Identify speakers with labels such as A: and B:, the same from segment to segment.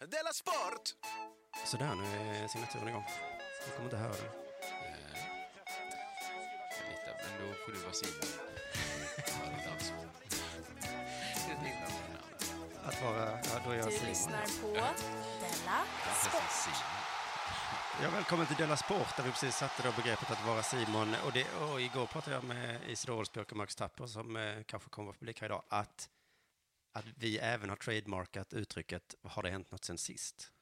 A: Della Sport!
B: Sådär, nu är signaturen igång. Ni kommer inte höra den.
C: Äh, Jag litar, men då får du vara Simon. Ja, det är dags.
B: Att vara... Ja, då är jag
D: Du
B: Simon.
D: lyssnar på Della Sport.
B: Ja, välkommen till Della Sport där vi precis satte då begreppet att vara Simon. Och, det, och igår pratade jag med Isidor Olsbjörk och Max Tapper som eh, kanske kommer vara publik här idag. Att, att vi även har trademarkat uttrycket har det hänt något sen sist?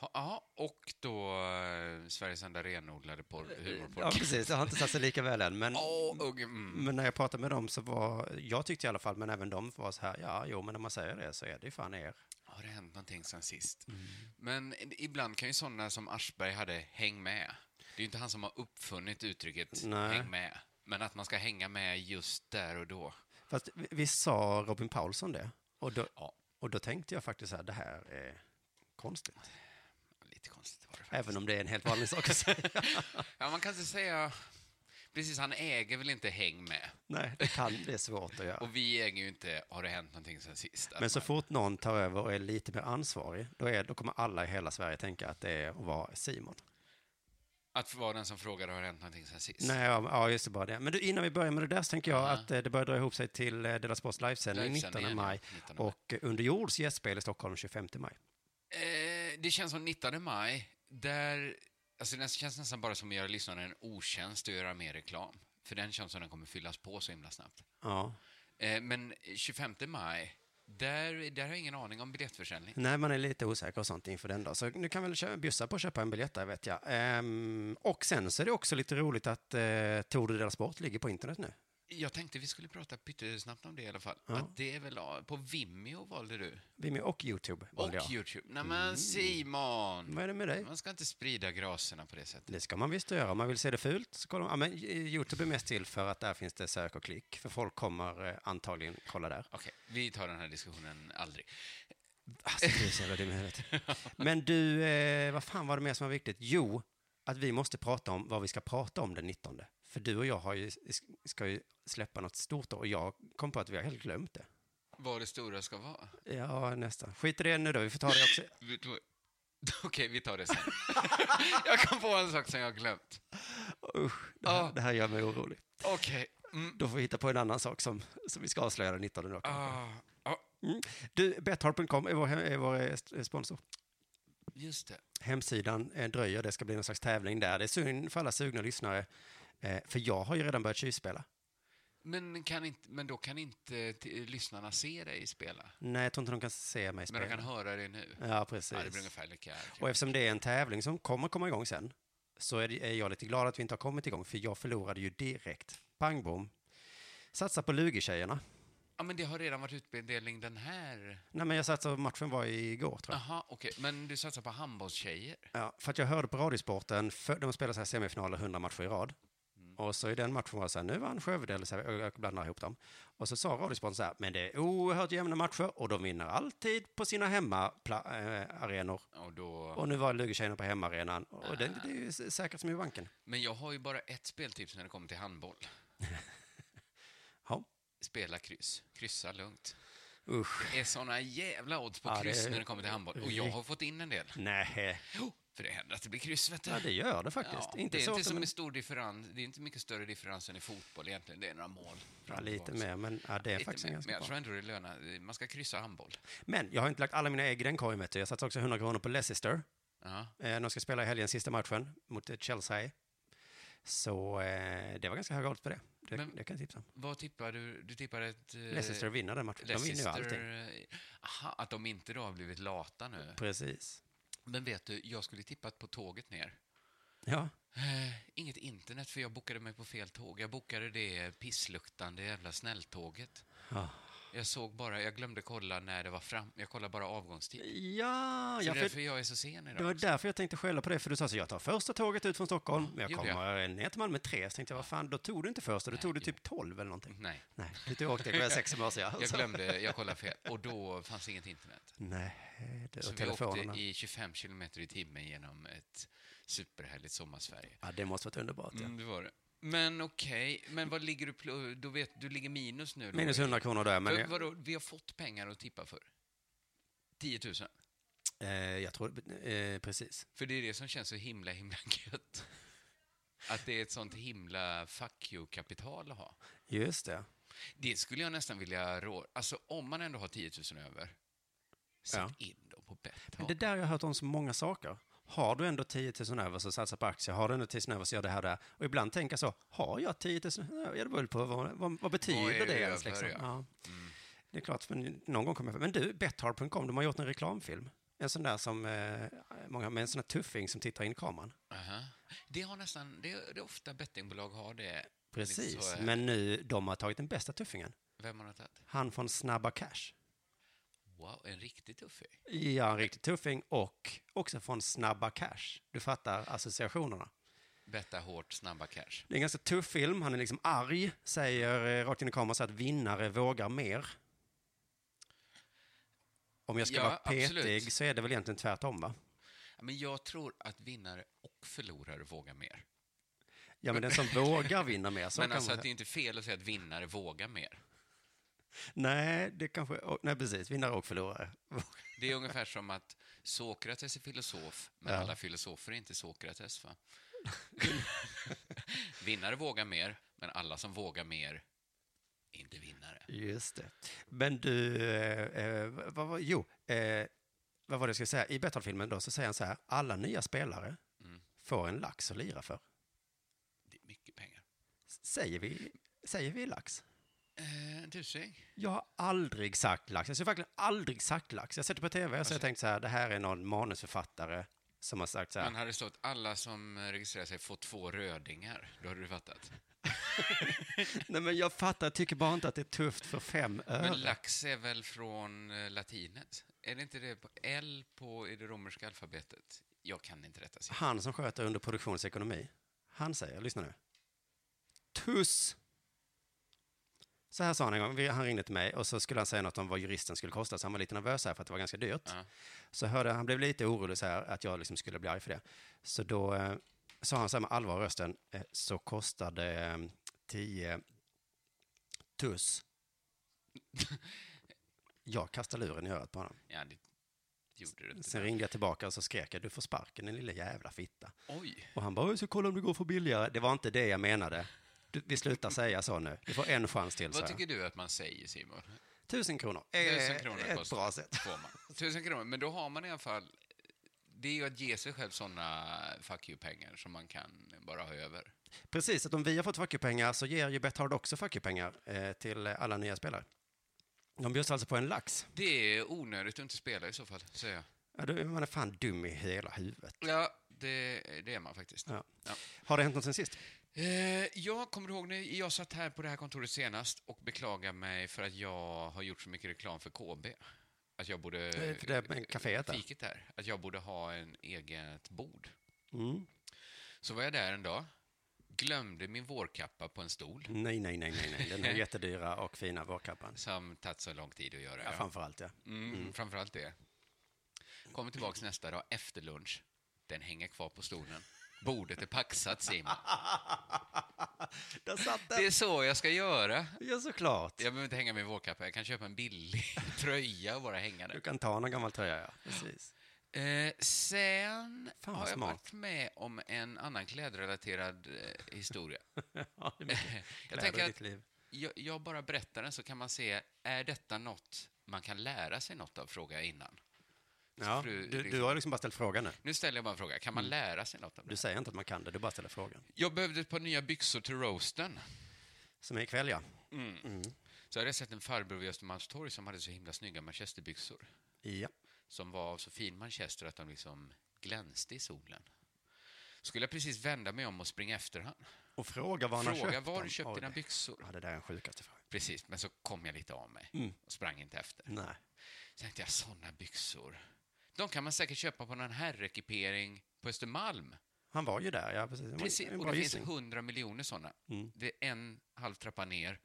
C: Ja, Ja, och då eh, Sveriges enda renodlade porr,
B: Ja,
C: humorpodd.
B: precis. Det har inte satt sig lika väl än. Men,
C: Åh, och, mm.
B: men när jag pratade med dem så var... Jag tyckte i alla fall, men även de var så här, ja, jo, men när man säger det så är det ju fan er.
C: Har det hänt någonting sen sist? Men ibland kan ju sådana som Aschberg hade häng med. Det är ju inte han som har uppfunnit uttrycket
B: Nej.
C: häng med. Men att man ska hänga med just där och då.
B: Fast vi, vi sa Robin Paulsson det. Och då,
C: Ja.
B: och då tänkte jag faktiskt så här, det här är konstigt.
C: Lite konstigt var det faktiskt.
B: Även om det är en helt vanlig sak att säga.
C: Ja, man kan inte säga... Precis, han äger väl inte häng med.
B: Nej, det, kan, det är svårt att göra.
C: Och vi äger ju inte har det hänt någonting sen sist. Att
B: Men så
C: man-
B: fort någon tar över och är lite mer ansvarig, då, är, då kommer alla i hela Sverige tänka att det är att vara Simon.
C: Att vara den som frågar har det hänt någonting sen sist.
B: Nej, ja, ja, just det, bara det. Men du, innan vi börjar med det där så tänker jag att eh, det börjar dra ihop sig till eh, Della Sports livesändning
C: Livesändningen,
B: 19 maj
C: ja, 19 maj.
B: och eh, Under jords gästspel i Stockholm 25 maj.
C: Eh, det känns som 19 maj, där... Alltså det känns nästan bara som att göra lyssnaren en otjänst att göra mer reklam. För den känns som den kommer fyllas på så himla snabbt.
B: Ja.
C: Eh, men 25 maj, där, där har jag ingen aning om biljettförsäljning.
B: Nej, man är lite osäker och sånt inför den då. Så nu kan väl kö- bjussa på att köpa en biljett där, vet jag. Ehm, och sen så är det också lite roligt att uh, Tour de Della Sport ligger på internet nu.
C: Jag tänkte vi skulle prata pyttesnabbt om det i alla fall. Att det är väl ah, på Vimeo valde du.
B: Vimeo och YouTube
C: Och
B: valde jag. Mm.
C: YouTube. Nej men Simon!
B: Vad är det med dig?
C: Man ska inte sprida graserna på det sättet.
B: Det ska man visst göra. Om man vill se det fult så kollar man. Ja, men eh, YouTube är mest till för att där finns det sök och klick. För folk kommer eh, antagligen kolla där.
C: Okej, vi tar den här diskussionen aldrig.
B: Alltså, du är så jävla dum i huvudet. Men du, eh, vad fan var det mer som var viktigt? Jo, att vi måste prata om vad vi ska prata om den 19. För du och jag har ju, ska ju släppa något stort då, och jag kom på att vi har helt glömt det.
C: Vad det stora ska vara.
B: Ja, nästan. Skit i det nu då, vi får ta det också.
C: Vi tog- Okej, vi tar det sen. jag kom på en sak som jag har glömt.
B: Usch, det här,
C: Ja.
B: det här gör mig orolig.
C: Okej. Mm.
B: Då får vi hitta på en annan sak som, som vi ska avslöja den 19 då.
C: Ah, ah,
B: Mm. Du, Betthard.com är vår, hem- är vår eh, sponsor.
C: just det.
B: Hemsidan eh, dröjer, det ska bli någon slags tävling där. Det är synd för alla sugna lyssnare, eh, för jag har ju redan börjat tjuvspela.
C: Men, kan inte, men då kan inte t- lyssnarna se dig spela?
B: Nej, jag tror inte de kan se mig
C: Men
B: spela.
C: de kan höra det nu?
B: Ja, precis.
C: Ja, det blir ungefär lika.
B: Och eftersom det är en tävling som kommer komma igång sen, så är det- är jag lite glad att vi inte har kommit igång, för jag förlorade ju direkt. Pang bom. Satsa på Lugi-tjejerna.
C: Ja, men det har redan varit utdelning den här.
B: Nej, men jag satsade, matchen var igår tror jag.
C: Jaha, okej. Men du satsar på handbollstjejer?
B: Ja, för att jag hörde på Radiosporten, för, de spelar så här semifinaler 100 matcher i rad.
C: Mm.
B: Och så i den matchen var det så här, nu vann Skövde, eller så här, jag blandar ihop dem. Och så sa Radiosporten så här, men det är oerhört jämna matcher och de vinner alltid på sina eh, hemmaarenor.
C: Och då...
B: Och nu var Lugi-tjejerna på hemmaarenan. Och det, det är ju s- säkert som i banken.
C: Men jag har ju bara ett speltips när det kommer till handboll.
B: Ja.
C: Spela kryss. Kryssa lugnt.
B: Usch.
C: Det är såna jävla odds på
B: Ja, det
C: kryss
B: är-
C: när det kommer till handboll. Och jag har fått in en del.
B: Nej.
C: Jo, för det händer att det blir kryss, vet du.
B: Ja, det gör det faktiskt.
C: Ja,
B: inte
C: det är
B: så
C: inte
B: ofta,
C: som
B: men-
C: en stor differens. Det är inte mycket större differens än i fotboll egentligen. Det är några mål. fram
B: Ja,
C: och
B: lite
C: tillbaka.
B: mer, men ja, det är
C: Lite
B: faktiskt
C: mer, Men
B: en ganska
C: jag tror
B: bra.
C: ändå det lönar Man ska kryssa handboll.
B: Men jag har inte lagt alla mina ägg i den korgen, vet du. Jag satsade också 100 kronor på Leicester.
C: Ja.
B: Eh, de ska spela i helgen, sista matchen, mot eh, Chelsea. Så eh, det var ganska höga odds på det. Det,
C: Men-
B: det kan jag tipsa om.
C: Vad tippar du? Du tippar ett... eh,
B: Leicester vinner den matchen. De vinner ju allting.
C: Leicester- eh, Aha, att de inte då har blivit lata nu.
B: Precis.
C: Men vet du, jag skulle tippat på tåget ner.
B: Ja,
C: Eh, Inget internet, för jag bokade mig på fel tåg. Jag bokade det pissluktande jävla snälltåget.
B: Ja.
C: Jag såg bara, jag glömde kolla när det var fram. Jag kollade bara avgångstid.
B: ja
C: Så
B: jag,
C: därför
B: för,
C: jag är så sen idag.
B: det var
C: också.
B: därför jag tänkte skälla på det, för du sa så jag tar första tåget ut från Stockholm, men jag
C: gjorde jag.
B: kommer ner till Malmö tre, så tänkte jag, vad fan, då tog du inte första, då tog du typ 12 eller någonting.
C: Nej,
B: Nej, du åkte klockan sex i morse, ja.
C: Mm. jag
B: Så-
C: glömde, jag kollade fel. Och då fanns inget internet.
B: Nej, det
C: Så
B: och
C: vi
B: telefonerna.
C: åkte i 25 kilometer i timmen genom ett superhärligt sommarsverige.
B: Ja, det måste varit underbart. Ja.
C: Mm, det var det. Men okej, men vad ligger du... pl- Du, vet, du ligger minus nu? då?
B: Minus 100 kronor där, men
C: För,
B: jag,
C: vadå, vi har fått pengar att tippa för. 10 000.
B: Eh, jag tror, eh, precis.
C: För det är det som känns så himla, himla gött. Att det är ett sånt himla fuck you-kapital att ha.
B: Just det.
C: Det skulle jag nästan vilja råda. Alltså om man ändå har 10 000 över, sätt
B: Ja.
C: in dem på
B: Men
C: Betthard.
B: det där har jag hört om så många saker. Har du ändå 10 000 över så satsa på aktier, har du ändå 10 000 över så gör det här och det här. Och ibland tänker jag så, har jag 10 000 över? Jag beror på vad, vad, vad
C: Vad
B: betyder
C: är
B: det
C: det Mm.
B: ens?
C: över,
B: Liksom?
C: ja.
B: Ja. Det är klart, men någon gång kommer jag... Men du, Betthard.com, de har gjort en reklamfilm. En sån där som, eh, många, med en sån där tuffing som tittar in i kameran.
C: Aha. Det har nästan, det, det är ofta bettingbolag har det. Lite så
B: Precis,
C: är-
B: men nu, de har tagit den bästa tuffingen.
C: Vem har tagit?
B: Han från Snabba Cash.
C: Wow, en riktig tuffing.
B: Ja, en riktig tuffing och också från Snabba Cash. Du fattar associationerna.
C: Betta hårt, snabba cash.
B: Det är en ganska tuff film. Han är liksom arg, säger eh, rakt in i kameran så att vinnare vågar mer. Om jag ska
C: Ja,
B: vara petig
C: absolut.
B: så är det väl egentligen tvärtom, va?
C: Ja, Men jag tror att vinnare och förlorare vågar mer.
B: Ja, men den som vågar vinner mer. Så
C: Men
B: kan
C: alltså
B: man...
C: att det är inte fel att säga att vinnare vågar mer.
B: Nej, det kanske... oh, Nej, precis. Vinnare och förlorare.
C: Det är ungefär som att Sokrates är filosof, men
B: Ja.
C: alla filosofer är inte Sokrates, va? vinnare vågar mer, men alla som vågar mer är inte vinnare.
B: Just det. Men du, eh, eh, vad var... Jo, eh, vad var det jag skulle säga? I Betthard-filmen då så säger han så här, alla nya spelare
C: Mm.
B: får en lax att lira för.
C: Det är mycket pengar.
B: Säger vi, säger vi lax?
C: Eh, en tusing?
B: Jag har aldrig sagt lax. Jag har verkligen aldrig sagt lax. Jag sätter på tv och
C: Alltså-
B: så har jag tänkt så här, det här är någon manusförfattare som har sagt så här.
C: Men hade det stått alla som registrerar sig får två rödingar, då hade du fattat.
B: Nej men jag fattar, jag tycker bara inte att det är tufft för fem öre.
C: Men lax är väl från eh, latinet? Är det inte det på L på, i det romerska alfabetet? Jag kan inte detta. siffror.
B: Han som sköter under produktionsekonomi, han säger, lyssna nu. Tuss! Så här sa han en gång, Vi- han ringde till mig och så skulle han säga något om vad juristen skulle kosta, så han var lite nervös här för att det var ganska dyrt.
C: Ja.
B: Så hörde jag- han blev lite orolig så här, att jag liksom skulle bli arg för det. Så då eh, sa han så här med allvar i rösten, eh, så kostade eh, 10 tuss. Jag kastade luren i örat på honom.
C: Ja, det gjorde du inte.
B: Sen ringde jag tillbaka och så skrek jag, du får sparken din lilla jävla fitta.
C: Oj!
B: Och han bara, jag ska kolla om det går för billigare. Det var inte det jag menade. Du, vi slutar säga så nu. Du får en chans till, så
C: Vad tycker du att man säger, Simon?
B: Tusen kronor.
C: Tusen
B: Eh,
C: kronor
B: Ett
C: kostar.
B: bra sätt.
C: Får man. Tusen kronor. Men då har man i alla fall... Det är ju att ge sig själv såna fuck you-pengar som man kan bara ha över.
B: Precis, att om vi har fått fuck pengar så ger ju Betthard också fuck pengar eh, till eh, alla nya spelare. De bjuds alltså på en lax.
C: Det är onödigt att inte spela i så fall, säger jag.
B: Ja, då är man är fan dum i hela huvudet.
C: Ja, det, det är man faktiskt.
B: Ja.
C: Ja.
B: Har det hänt något sen sist?
C: Eh, jag kommer ihåg när jag satt här på det här kontoret senast och beklagade mig för att jag har gjort så mycket reklam för KB. Att jag borde...
B: Eh, för det med kaféet där.
C: Fiket där. Att jag borde ha en eget bord.
B: Mm.
C: Så var jag där en dag, glömde min vårkappa på en stol,
B: Nej, nej, nej, nej, nej. Den här jättedyra och fina vårkappan.
C: som tagit så lång tid att göra.
B: Ja, framför allt, ja.
C: Mm, Framförallt det. Kommer tillbaks nästa dag efter lunch. Den hänger kvar på stolen. Bordet är paxat, Simon.
B: Där satt den!
C: Det är så jag ska göra.
B: Ja, såklart.
C: Jag behöver inte hänga min vårkappa. Jag kan köpa en billig tröja och bara hänga
B: Du
C: den.
B: kan ta någon gammal tröja, ja. Precis.
C: Eh, sen
B: Fan, vad
C: har jag
B: smart.
C: varit med om en annan klädrelaterad eh, historia.
B: Ja, det är mycket
C: jag
B: kläder i
C: tänker att
B: ditt liv.
C: jag, jag bara berättar den så kan man se, är detta något man kan lära sig något av? Fråga innan.
B: Ja,
C: fru-
B: du, du
C: liksom-
B: har liksom bara ställt frågan nu.
C: Nu ställer jag bara en fråga, kan man
B: Mm.
C: lära sig något av
B: Du
C: det?
B: säger inte att man kan det, du bara ställer frågan.
C: Jag behövde ett par nya byxor till roasten.
B: Som är ikväll, ja.
C: Mm. Så hade jag sett en farbror vid Östermalmstorg som hade så himla snygga manchesterbyxor.
B: Ja.
C: Som var av så fin manchester att de liksom glänste i solen. Skulle jag precis vända mig om och springa efter han.
B: Och fråga var han har
C: Fråga
B: köpt
C: var
B: dem.
C: du köpte
B: Oj.
C: dina byxor.
B: Ja, det där är den sjukaste frågan.
C: Precis, men så kom jag lite av mig
B: Mm.
C: och sprang inte efter.
B: Nej.
C: Så tänkte jag, sådana byxor. De kan man säkert köpa på någon herrekipering på Östermalm.
B: Han var ju där, ja precis. Det var
C: Precis,
B: En
C: och
B: bra
C: det finns
B: gissning.
C: hundra miljoner sådana.
B: Mm.
C: Det är en halv trappa ner,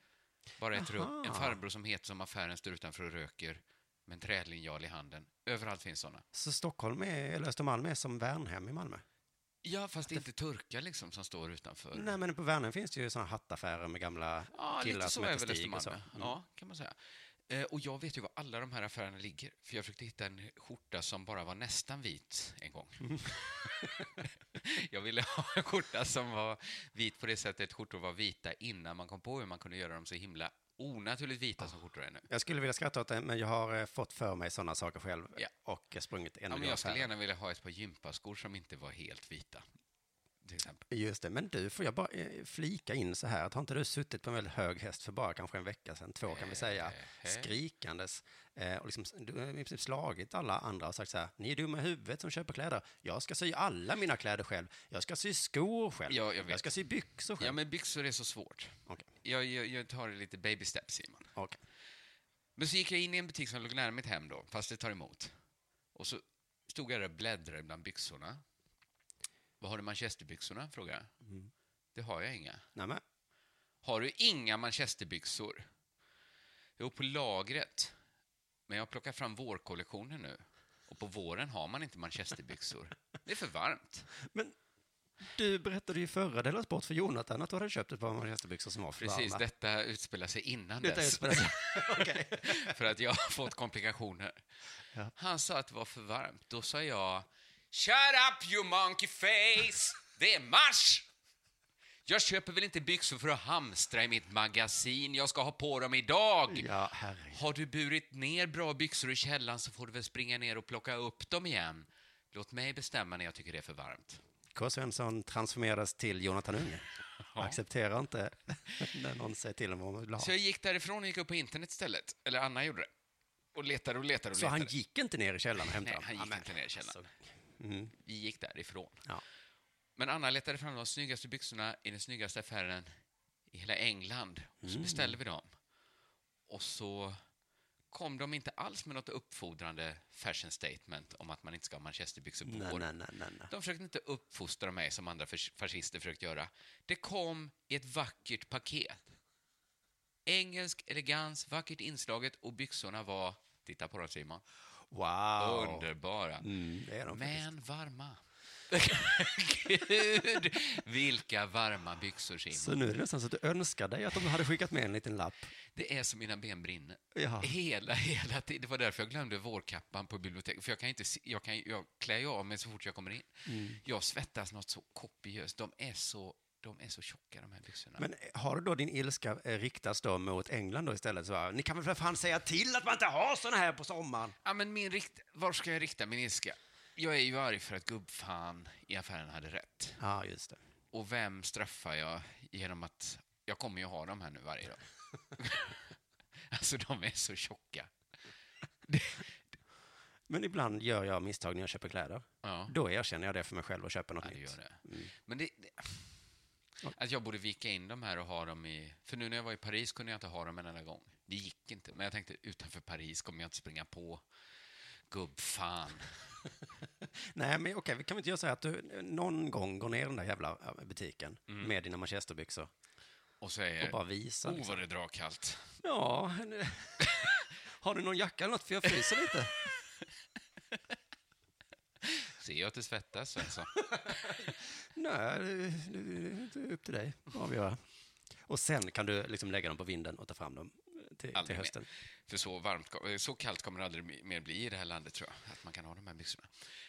C: bara ett
B: Aha.
C: rum. En farbror som heter som affären står utanför och röker med en trälinjal i handen. Överallt finns sådana.
B: Så Stockholm, är, eller Östermalm, är som Värnhem i Malmö?
C: Ja, fast det är inte turkar liksom som står utanför.
B: Nej, men på Värnhem finns det ju sådana hattaffärer med gamla
C: ja,
B: killar
C: lite så
B: som
C: är
B: heter
C: väl
B: Stig och så. Mm.
C: Östermalm. Ja, kan man säga. Eh, och jag vet ju var alla de här affärerna ligger, för jag försökte hitta en skjorta som bara var nästan vit en gång.
B: Mm.
C: jag ville ha en skjorta som var vit på det sättet skjortor var vita innan man kom på hur man kunde göra dem så himla onaturligt vita som skjortor är nu.
B: Jag skulle vilja skratta åt det, men jag har eh, fått för mig sådana saker själv
C: Ja.
B: och eh, sprungit en
C: Ja, men
B: miljard
C: jag skulle
B: affärer.
C: gärna vilja ha ett par gympaskor som inte var helt vita. Till exempel.
B: Just det, men du, får jag bara eh, flika in så här, att har inte du suttit på en väldigt hög häst för bara kanske en vecka sedan, två kan vi säga,
C: Eh,
B: skrikandes eh, och liksom, s- du har i princip slagit alla andra och sagt så här, ni är dumma i huvudet som köper kläder, jag ska sy alla mina kläder själv, jag ska sy skor själv,
C: Ja, jag vet.
B: ska sy byxor
C: Ja,
B: själv.
C: men byxor är så svårt.
B: Okej.
C: Jag, jag, jag tar det lite baby steps, Simon.
B: Okej.
C: Men så gick jag in i en butik som låg nära mitt hem då, fast det tar emot. Och så stod jag där och bläddrade bland byxorna. Vad har du manchesterbyxorna? frågade jag.
B: Mm.
C: Det har jag inga.
B: Nej, men,
C: Har du inga manchesterbyxor? Jo, på lagret. Men jag plockar fram vårkollektionen nu. Och på våren har man inte manchesterbyxor. Det är för varmt.
B: men du berättade ju i förra Della Sport för Jonathan att du hade köpt ett par manchesterbyxor som var för
C: Precis,
B: varma.
C: detta utspelar sig innan
B: Detta är
C: dess.
B: spännande. Okej.
C: för att jag har fått komplikationer.
B: Ja.
C: Han sa att det var för varmt. Då sa jag Shut up you monkey face! Det är mars! Jag köper väl inte byxor för att hamstra i mitt magasin. Jag ska ha på dem idag.
B: Ja, herregud.
C: Har du burit ner bra byxor i källaren så får du väl springa ner och plocka upp dem igen. Låt mig bestämma när jag tycker det är för varmt.
B: K. Svensson transformerades till Jonathan Unge. Accepterar inte när någon säger till honom vad man vill ha.
C: Så jag gick därifrån och gick upp på internet istället. Eller Anna gjorde det. Och letade och letade och
B: Så han
C: letade.
B: gick inte ner i källaren och hämtade
C: Nej,
B: dem?
C: han
B: Ja,
C: gick
B: men-
C: inte ner i källaren.
B: alltså, Mm,
C: Vi gick därifrån.
B: ja.
C: Men Anna letade fram de snyggaste byxorna i den snyggaste affären i hela England. Och
B: Mm.
C: så beställde vi dem. Och så kom de inte alls med något uppfordrande fashion statement om att man inte ska ha manchesterbyxor på
B: Nej,
C: våren.
B: nej, nej, nej, nej.
C: De försökte inte uppfostra mig som andra fas- fascister försökt göra. Det kom i ett vackert paket. Engelsk elegans, vackert inslaget och byxorna var, titta på dem Simon,
B: Wow!
C: underbara.
B: Mm, det är de faktiskt.
C: Men varma. Gud, vilka varma byxor, Simon.
B: Så nu är det nästan så att du önskar dig att de hade skickat med en liten lapp.
C: Det är som mina ben brinner.
B: Ja.
C: Hela, hela tiden. Det var därför jag glömde vårkappan på biblioteket. För jag, kan inte, se- jag, kan, jag klär ju av mig så fort jag kommer in. Jag svettas något så kopiöst. De är så, de är så tjocka, de här byxorna.
B: Men har du då din ilska eh, riktats då mot England då istället? Så bara, Ni kan väl för fan säga till att man inte har såna här på sommaren?
C: Ja, men min rikt... Var ska jag rikta min ilska? Jag är ju arg för att gubbfan i affären hade rätt.
B: Ja, just det.
C: Och vem straffar jag genom att... Jag kommer ju ha dem här nu varje dag. alltså, de är så tjocka.
B: Men ibland gör jag misstag när jag köper kläder.
C: Ja,
B: Då erkänner jag det för mig själv och köper något
C: ja det
B: nytt.
C: gör det.
B: Mm.
C: Men det... det att jag borde vika in de här och ha dem i... För nu när jag var i Paris kunde jag inte ha dem en enda gång. Det gick inte. Men jag tänkte, utanför Paris kommer jag inte springa på gubbfan.
B: Nej, men okej, vi kan väl inte göra så här att du någon gång går ner i den där jävla eh, butiken med dina manchesterbyxor
C: Och
B: och
C: säger...
B: bara liksom. visar.
C: Mm. Oh, vad det drar kallt.
B: Ja, nu- har du någon jacka eller något? För jag fryser lite.
C: Ser jag att du svettas, Svensson?
B: Nej, det, det, det är upp till dig att avgöra. Och sen kan du liksom lägga dem på vinden och ta fram dem eh, till, till
C: Aldrig
B: hösten.
C: För så, varmt, kom- eh, så kallt kommer det aldrig mi- mer bli i det här landet, tror jag. Att man kan ha de här byxorna.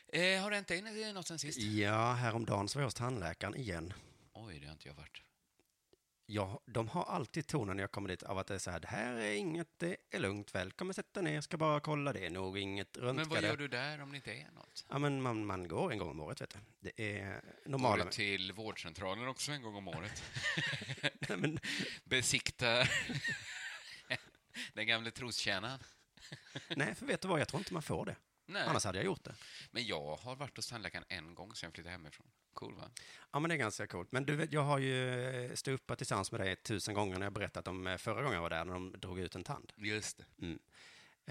C: Eh, har det hänt dig n- något sen sist?
B: Ja, häromdagen så var jag hos tandläkaren igen.
C: Oj, det har inte jag varit.
B: Ja, de har alltid tonen när jag kommer dit av att det är så här, det här är inget, det är lugnt, välkommen sätta ner, ska bara kolla, det är nog inget röntga.
C: Men vad
B: det."
C: gör du där om det inte är något?
B: Ja, men man, man går en gång om året, vet du. Det är
C: Går
B: normala...
C: du till vårdcentralen också en gång om året?
B: Nej, men,
C: Besikta den gamle trostjänaren?
B: nej, för vet du vad, jag tror inte man får det.
C: Nej,
B: Annars hade jag gjort det.
C: men jag har varit hos tandläkaren en gång sen jag flyttade hemifrån. Cool, va?
B: Ja, men det är ganska coolt. Men du vet, jag har ju stupat tillsammans med dig tusen gånger när jag berättat om eh, förra gången jag var där, när de drog ut en tand.
C: Just det.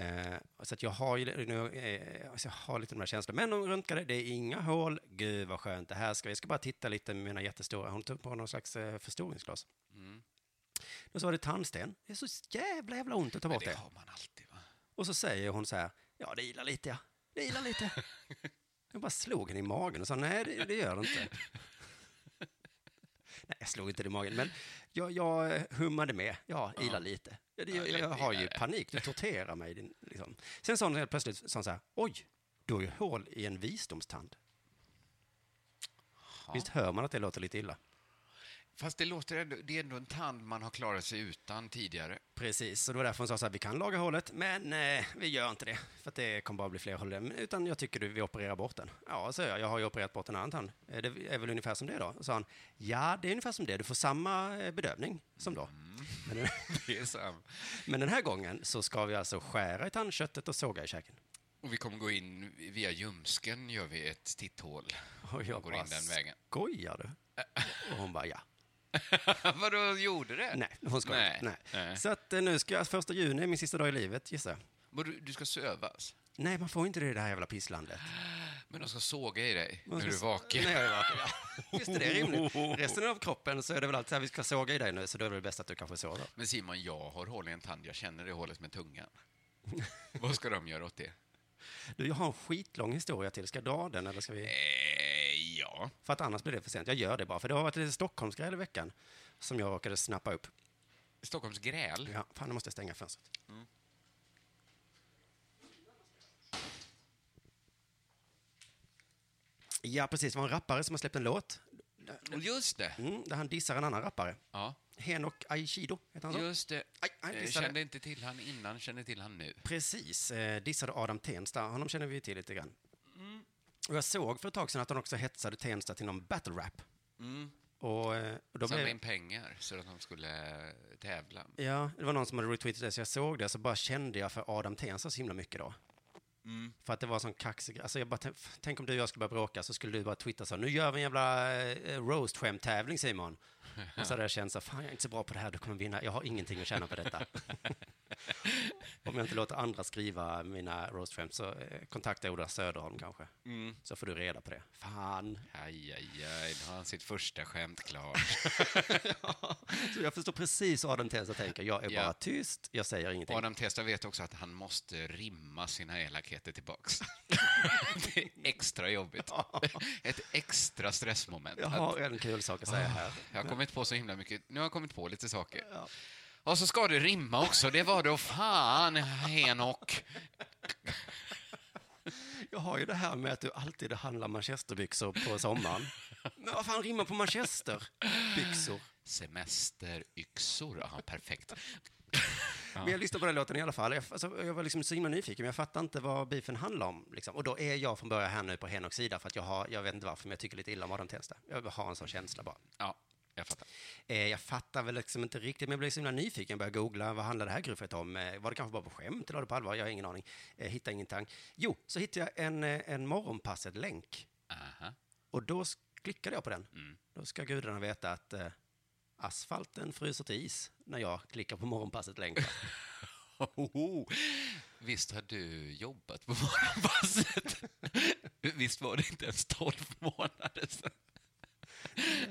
B: Eh, så att jag har ju nu, eh, alltså jag har lite de här känslorna. Men de röntgade, det är inga hål. Gud vad skönt det här ska vi. ska bara titta lite med mina jättestora, hon tog på någon slags eh, förstoringsglas.
C: Mm.
B: Då så var det tandsten. Det är så jävla, jävla ont att ta
C: Men
B: bort
C: det
B: det.
C: har man alltid, va?
B: Och så säger hon så här, ja det ilar lite ja, det ilar lite. Jag bara slog henne i magen och sa, nej det, det gör det inte. Nej, jag slog inte det i magen, men jag, jag hummade med. Ja,
C: Ja.
B: ila lite. Jag, jag,
C: lätt
B: jag har
C: ila
B: ju
C: det.
B: panik, du torterar mig. din- Liksom. Sen sa hon helt plötsligt sa hon så här, oj, du har ju hål i en visdomstand.
C: Ja.
B: Visst hör man att det låter lite illa?
C: Fast det låter ändå, det är ändå en tand man har klarat sig utan tidigare.
B: Precis, så det var därför hon sa så här, vi kan laga hålet, men eh, vi gör inte det, för att det kommer bara bli fler hål. Men- Utan jag tycker du, vi opererar bort den. Ja, så jag, jag har ju opererat bort en annan tand. Eh, Det är väl ungefär som det då? Och sa han, ja, det är ungefär som det, du får samma eh, bedövning som då. Men,
C: Det är så här.
B: men den här gången så ska vi alltså skära i tandköttet och såga i käken.
C: Och vi kommer gå in via ljumsken, gör vi ett titthål.
B: Och jag
C: går
B: bara,
C: in den vägen.
B: skojar du? Och hon bara, ja.
C: Vadå, gjorde det?
B: Nej, hon skojar.
C: Nej,
B: Nej.
C: nej.
B: Nej. Så att eh, nu ska jag, första juni är min sista dag i livet, gissar jag.
C: Men du, du ska sövas?
B: Nej, man får inte det i det här jävla pisslandet.
C: Men de ska såga i dig
B: Man
C: när
B: ska
C: du är
B: s-
C: vaken?
B: När jag är vaken, ja. Just det, det är rimligt. Resten av kroppen så är det väl alltid så här, vi ska såga i dig nu, så då är det väl bäst att du kanske sover.
C: Men Simon, jag har hål i en tand. Jag känner det hålet med tungan. Vad ska de göra åt det?
B: Du, jag har en skitlång historia till. Ska jag dra den eller ska vi?
C: Eh, ja.
B: För att annars blir det för sent. Jag gör det bara, för det har varit lite Stockholmsgräl i veckan som jag råkade snappa upp.
C: Stockholms gräl.
B: Ja, fan, nu måste jag stänga fönstret.
C: Mm.
B: Ja, precis. Det var en rappare som har släppt en låt
C: Och Just det.
B: mm, där han dissar en annan rappare.
C: Ja,
B: Henok Aikido heter han så.
C: just det.
B: Aj, aj,
C: Eh,
B: dissade.
C: Kände inte till han innan, kände till han nu.
B: Precis, eh, dissade Adam Tensta. Honom känner vi ju till lite grann. Och jag såg för ett tag sedan att han också hetsade Tensta till någon battle rap.
C: Mm.
B: Och, eh, och då
C: Samla
B: blev,
C: in pengar så att de skulle eh, tävla.
B: ja, det var någon som hade retweetat det, så jag såg det, så bara kände jag för Adam Tensta så himla mycket då.
C: Mm.
B: För att det var en sån kaxig alltså jag bara, tän- f- Tänk om du och jag skulle börja bråka så skulle du bara twittra så, nu gör vi en jävla eh, roast-skämt-tävling Simon. Och så hade jag känt så, fan jag är inte så bra på det här, du kommer vinna, jag har ingenting att tjäna på detta. Om jag inte låter andra skriva mina roast-skämt så eh, kontakta Ola Söderholm kanske.
C: Mm.
B: Så får du reda på det. Fan.
C: Aj, aj, aj, nu har han sitt första skämt klart.
B: Så Alltså, jag förstår precis vad Adam Tensta tänker. Jag är
C: Ja.
B: bara tyst, jag säger ingenting.
C: Adam Testa vet också att han måste rimma sina elakheter tillbaks. det är extra jobbigt. Ett extra stressmoment.
B: Jag
C: Att-
B: har en kul sak att säga här.
C: Jag har kommit på så himla mycket. Nu har jag kommit på lite saker.
B: Ja.
C: Och så ska det rimma också. Det var då fan, Henok.
B: Jag har ju det här med att du alltid handlar manchesterbyxor på sommaren. Men vad fan rimmar på manchesterbyxor?
C: Semesteryxor. Ja, perfekt.
B: Men jag lyssnade på den låten i alla fall. Jag, alltså, jag var liksom så himla nyfiken, men jag fattade inte vad beefen handlade om. Liksom. Och då är jag från början här nu på Henoks sida, för att jag, har, jag vet inte varför, men jag tycker lite illa om Adam Tensta. Jag har en sån känsla bara.
C: Ja, jag fattar.
B: Eh, jag fattar väl liksom inte riktigt, men jag blev så himla nyfiken. Jag började googla, vad handlar det här gruffet om? Eh, var det kanske bara på skämt eller var det på allvar? Jag har ingen aning. Eh, hittar ingen tank. Jo, så hittade jag en, eh, en morgonpasset-länk.
C: Aha.
B: Och då s- klickade jag på den.
C: Mm.
B: Då ska gudarna veta att eh, asfalten fryser till is när jag klickar på morgonpasset länk.
C: Hoho. Visst har du jobbat på morgonpasset? Visst var det inte ens 12 månader sedan?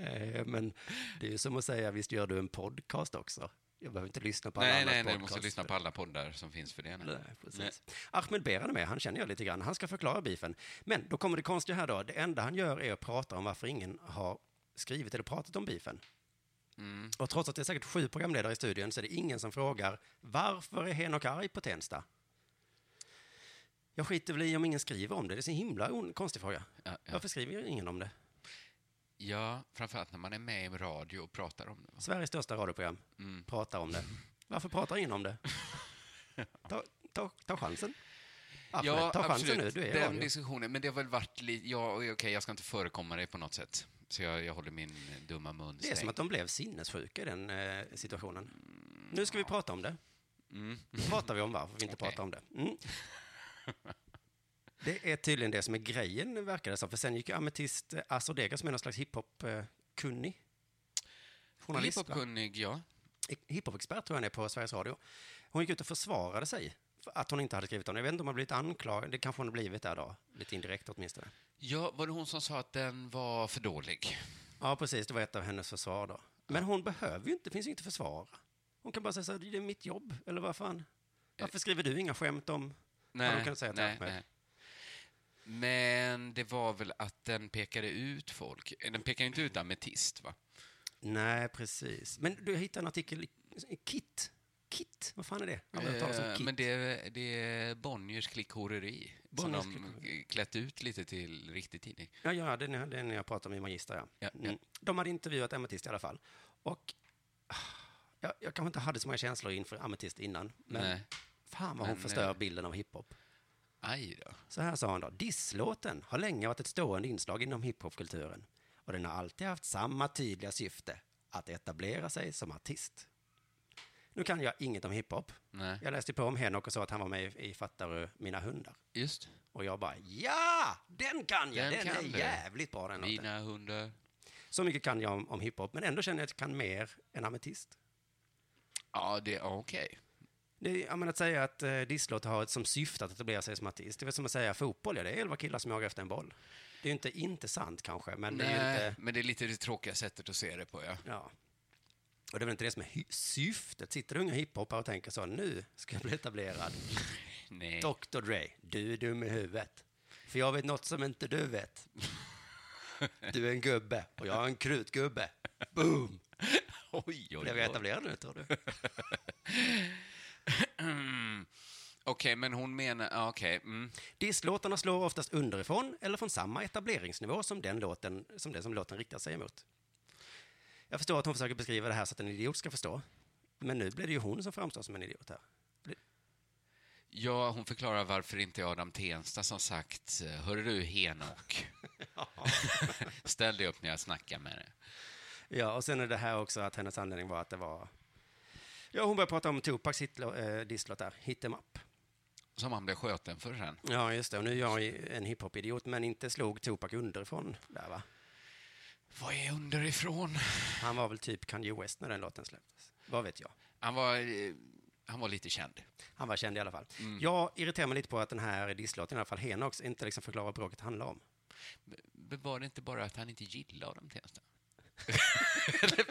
B: Eh, Men det är ju som att säga, visst gör du en podcast också? Jag behöver inte lyssna på alla
C: Nej,
B: andras
C: nej, nej, du
B: podcast.
C: måste lyssna på alla poddar som finns för det. nu.
B: Nej, precis. Ahmed Beran är med, han känner jag lite grann. Han ska förklara beefen. Men då kommer det konstiga här då. Det enda han gör är att prata om varför ingen har skrivit eller pratat om beefen.
C: Mm.
B: Och trots att det är säkert sju programledare i studion så är det ingen som frågar varför är Henok arg på Tensta? Jag skiter väl i om ingen skriver om det. Det är så himla on- konstig fråga.
C: Ja, ja.
B: Varför skriver ingen om det?
C: ja, framförallt när man är med i radio och pratar om det. va?
B: Sveriges största radioprogram
C: Mm.
B: pratar om det. Varför pratar ingen om det? Ta, ta, ta chansen. Ahmed, ta chansen nu. Du är i
C: Den
B: radio.
C: diskussionen, men det har väl varit lite... Ja, okej, jag ska inte förekomma dig på något sätt. Så jag, jag håller min dumma mun
B: Det är som att de blev sinnessjuka i den eh, situationen. Nu ska vi prata om det.
C: Mm.
B: Nu pratar vi om varför vi inte
C: Okej.
B: pratar om det. Mm. Det är tydligen det som är grejen, verkar det som. För sen gick ju Ametist eh, Asodega, som är någon slags hiphop-kunnig. Journalist, va?
C: Hiphopkunnig, ja.
B: hiphop-expert tror jag han är på Sveriges Radio. Hon gick ut och försvarade sig för att hon inte hade skrivit om det. Jag vet inte om hon blivit anklagad, det kanske hon har blivit där då, lite indirekt åtminstone.
C: Ja, var det hon som sa att den var för dålig?
B: Ja, precis, det var ett av hennes försvar då. Men hon behöver ju inte, det finns ju inte att försvara. Hon kan bara säga så här, det är mitt jobb, eller vad fan. Varför skriver du inga skämt om... Ja, då kan du säga att jag
C: nej,
B: är med.
C: nej. Men det var väl att den pekade ut folk. Den pekade inte ut ametist, va?
B: Nej, precis. Men du hittade en artikel, i- Kit. Kit, vad fan är det? Aldrig hört talas om
C: Eh,
B: Kit.
C: Men det är, det är Bonniers klickhoreri. Som
B: Bonniers
C: de
B: klickhoreri.
C: klätt ut lite till riktig tidning.
B: Ja, ja den, är- den jag pratade med i Magister, ja.
C: Ja, ja.
B: Mm. De hade intervjuat Ametist i alla fall. Och ah, jag, jag kanske inte hade så många känslor inför Ametist innan, men
C: Nej.
B: fan vad hon
C: Men,
B: förstör
C: eh,
B: bilden av hiphop.
C: Aj då.
B: Så här sa han då, disslåten har länge varit ett stående inslag inom hiphopkulturen och den har alltid haft samma tydliga syfte, att etablera sig som artist. Nu kan jag inget om hiphop.
C: Nej.
B: Jag läste på om Henok och sa att han var med i, i Fattar du mina hundar?
C: Just.
B: Och jag bara, ja! Den kan jag!
C: Den
B: Den,
C: kan
B: är
C: du.
B: jävligt bra den låten.
C: Mina hundar.
B: Så mycket kan jag om, om hiphop, men ändå känner jag att jag kan mer än ametist.
C: Ja, det är okej.
B: Det, är- jag menar, att säga att eh, disslåt har ett som syfte att etablera sig som artist, det är väl som att säga fotboll, ja, det är elva killar som jagar efter en boll. Det är ju inte inte sant kanske, men det är ju
C: Nej,
B: inte...
C: men det är lite det tråkiga sättet att se det på, ja.
B: Ja. Och det är väl inte det som är hy- syftet? Sitter det unga hiphoppare och tänker så, nu ska jag bli etablerad.
C: Nej.
B: Dr Dre, du är dum i huvudet. För jag vet något som inte du vet. Du är en gubbe och jag är en krutgubbe. Boom!
C: Oj, oj,
B: Blev jag etablerad nu, tror du?
C: Mm. Okej, men hon menar... ja, Okej. Mm.
B: Disslåtarna slår oftast underifrån eller från samma etableringsnivå som den, låten, som den som låten riktar sig emot. Jag förstår att hon försöker beskriva det här så att en idiot ska förstå. Men nu blir det ju hon som framstår som en idiot här.
C: Ja, hon förklarar varför inte Adam Tensta som sagt, eh, hörru du Henok, ställ dig upp när jag snackar med dig.
B: Ja, och sen är det här också att hennes anledning var att det var... Ja, hon började prata om Tupacs hitlå- eh, disslåt där, Hit 'em up.
C: Som han blev sköten för sen.
B: Ja, just det. Och nu är jag ju en hiphop-idiot, men inte slog Tupac underifrån där, va?
C: Vad är underifrån?
B: Han var väl typ Kanye West när den låten släpptes. Vad vet jag?
C: Han var, eh, han var lite känd.
B: Han var känd i alla fall.
C: Mm.
B: Jag irriterar mig lite på att den här disslåten, i alla fall Henox, inte liksom förklarar vad bråket handlar om.
C: Men var det inte bara att han inte gillade Adam Tensta? Eller,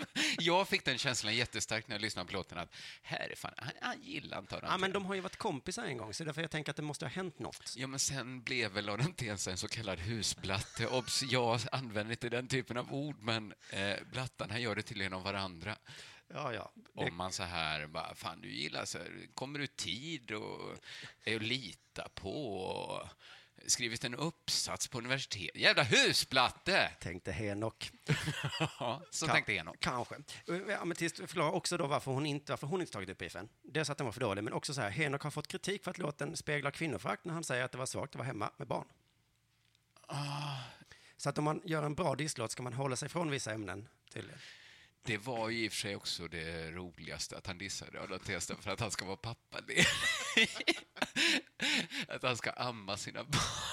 C: jag fick den känslan jättestarkt när jag lyssnade på låten att här är fan, han, han gillar inte Adam
B: Ja, men
C: Tensta.
B: de har ju varit kompisar en gång, så därför jag tänker att det måste ha hänt något.
C: Ja, men sen blev väl Adam Tensta en så kallad husblatte. Obs, jag använder inte den typen av ord, men eh, blattarna gör det tydligen om varandra.
B: Ja, ja. Det,
C: Om man så här, bara, fan du gillar så här, kommer du i tid och är att lita på och skrivit en uppsats på universitet. Jävla husblatte!
B: tänkte Henok.
C: Ja, så
B: Kan-
C: tänkte Enoch.
B: Kanske. Eh, Ametist förklarar också då varför hon inte, varför hon inte tagit upp beefen. Dels att den var för dålig, men också så här, Henok har fått kritik för att låten speglar kvinnoförakt när han säger att det var svagt att vara hemma med barn.
C: Ah.
B: Så att om man gör en bra disslåt ska man hålla sig från vissa ämnen, tydligen.
C: Det var ju i och för sig också det roligaste att han dissade Adam Tensta för att han ska vara pappaledig. att han ska amma sina barn.